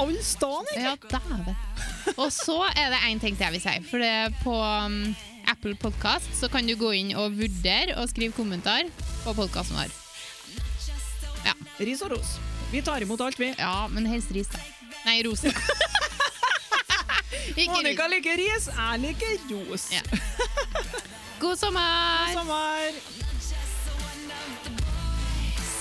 All staden, ikke? Ja, dæven. Og så er det én ting til jeg vil si. For det er på um, Apple Podcast så kan du gå inn og vurdere og skrive kommentar på podkasten vår. Ris og ros. Vi tar imot alt, vi. Ja, men helst ris, da. Nei, ros. da. Ikke ris. Monica liker ris, jeg liker ros. Ja. God sommer! Sommer. just the one of the boys.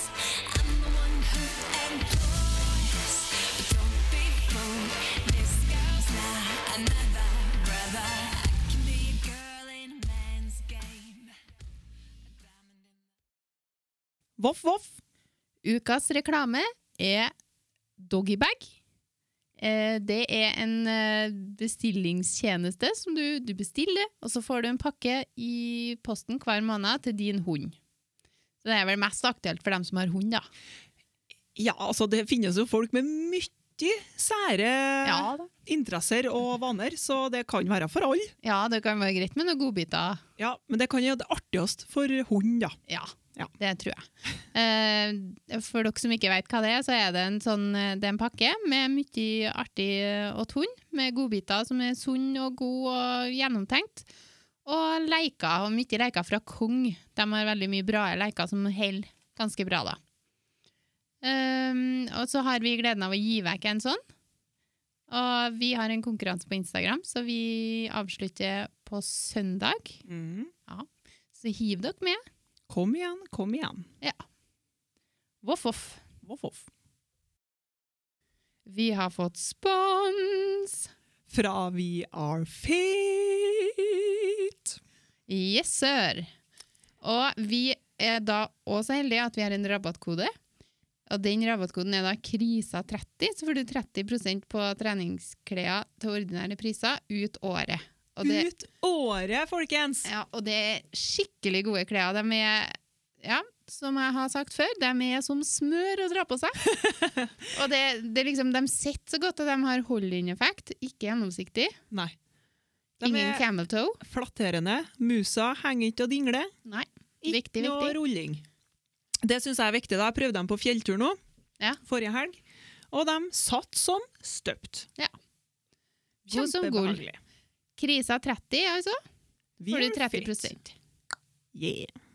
I'm the one who employs. But don't be fooled. This girl's not another brother. I can be a girl in a man's game. A diamond in Voff, voff. Ukas reklame er Doggybag. Eh, Det er en eh, bestillingstjeneste som du, du bestiller, og så får du en pakke i posten hver måned til din hund. Så det er vel mest aktuelt for dem som har hund, da. Ja, altså, det finnes jo folk med mye sære da. interesser og vaner, så det kan være for alle. ja det kan være greit med noen godbiter. Ja, men det kan jo være det artigste for hund, da. Ja, Ja. det tror jeg. Eh, For dere som ikke vet hva det er, så er det en, sånn, eh, det er en pakke med mye artig eh, åt hund, med godbiter som er sunn og god og gjennomtenkt. Og leker, og mye leker fra Kong. De har veldig mye bra leker som holder ganske bra, da. Eh, og så har vi gleden av å gi vekk en sånn. Og vi har en konkurranse på Instagram, så Mm. vi avslutter på søndag. Så hiv dere med. Kom igjen, kom igjen. Voff, voff. Voff, voff. Vi har fått spons! Fra We Are Fit. Yes, sir! Og vi er da også heldige at vi har en rabattkode. Og den rabattkoden er da KRISA30, så får du 30 på treningsklær til ordinære priser ut året. Og det, Ut året, folkens! ja, og det er skikkelig gode klær. De er, ja, som jeg har sagt før, de er som smør å dra på seg. og det, det er liksom, de sitter så godt, og de har hold-in-effekt. Ikke gjennomsiktig. Nei. De Ingen er camel toe. flatterende. Musa henger ikke og dingler. Nei. Ikke Viktig, noe viktig. rulling. Det syns jeg er viktig. da. Jeg prøvde dem på fjelltur nå, Ja. forrige helg, og de satt som støpt. Ja. God som gull. Kjempebehagelig. Krisa 30, altså. Vi Får du er 30 fit. Yeah.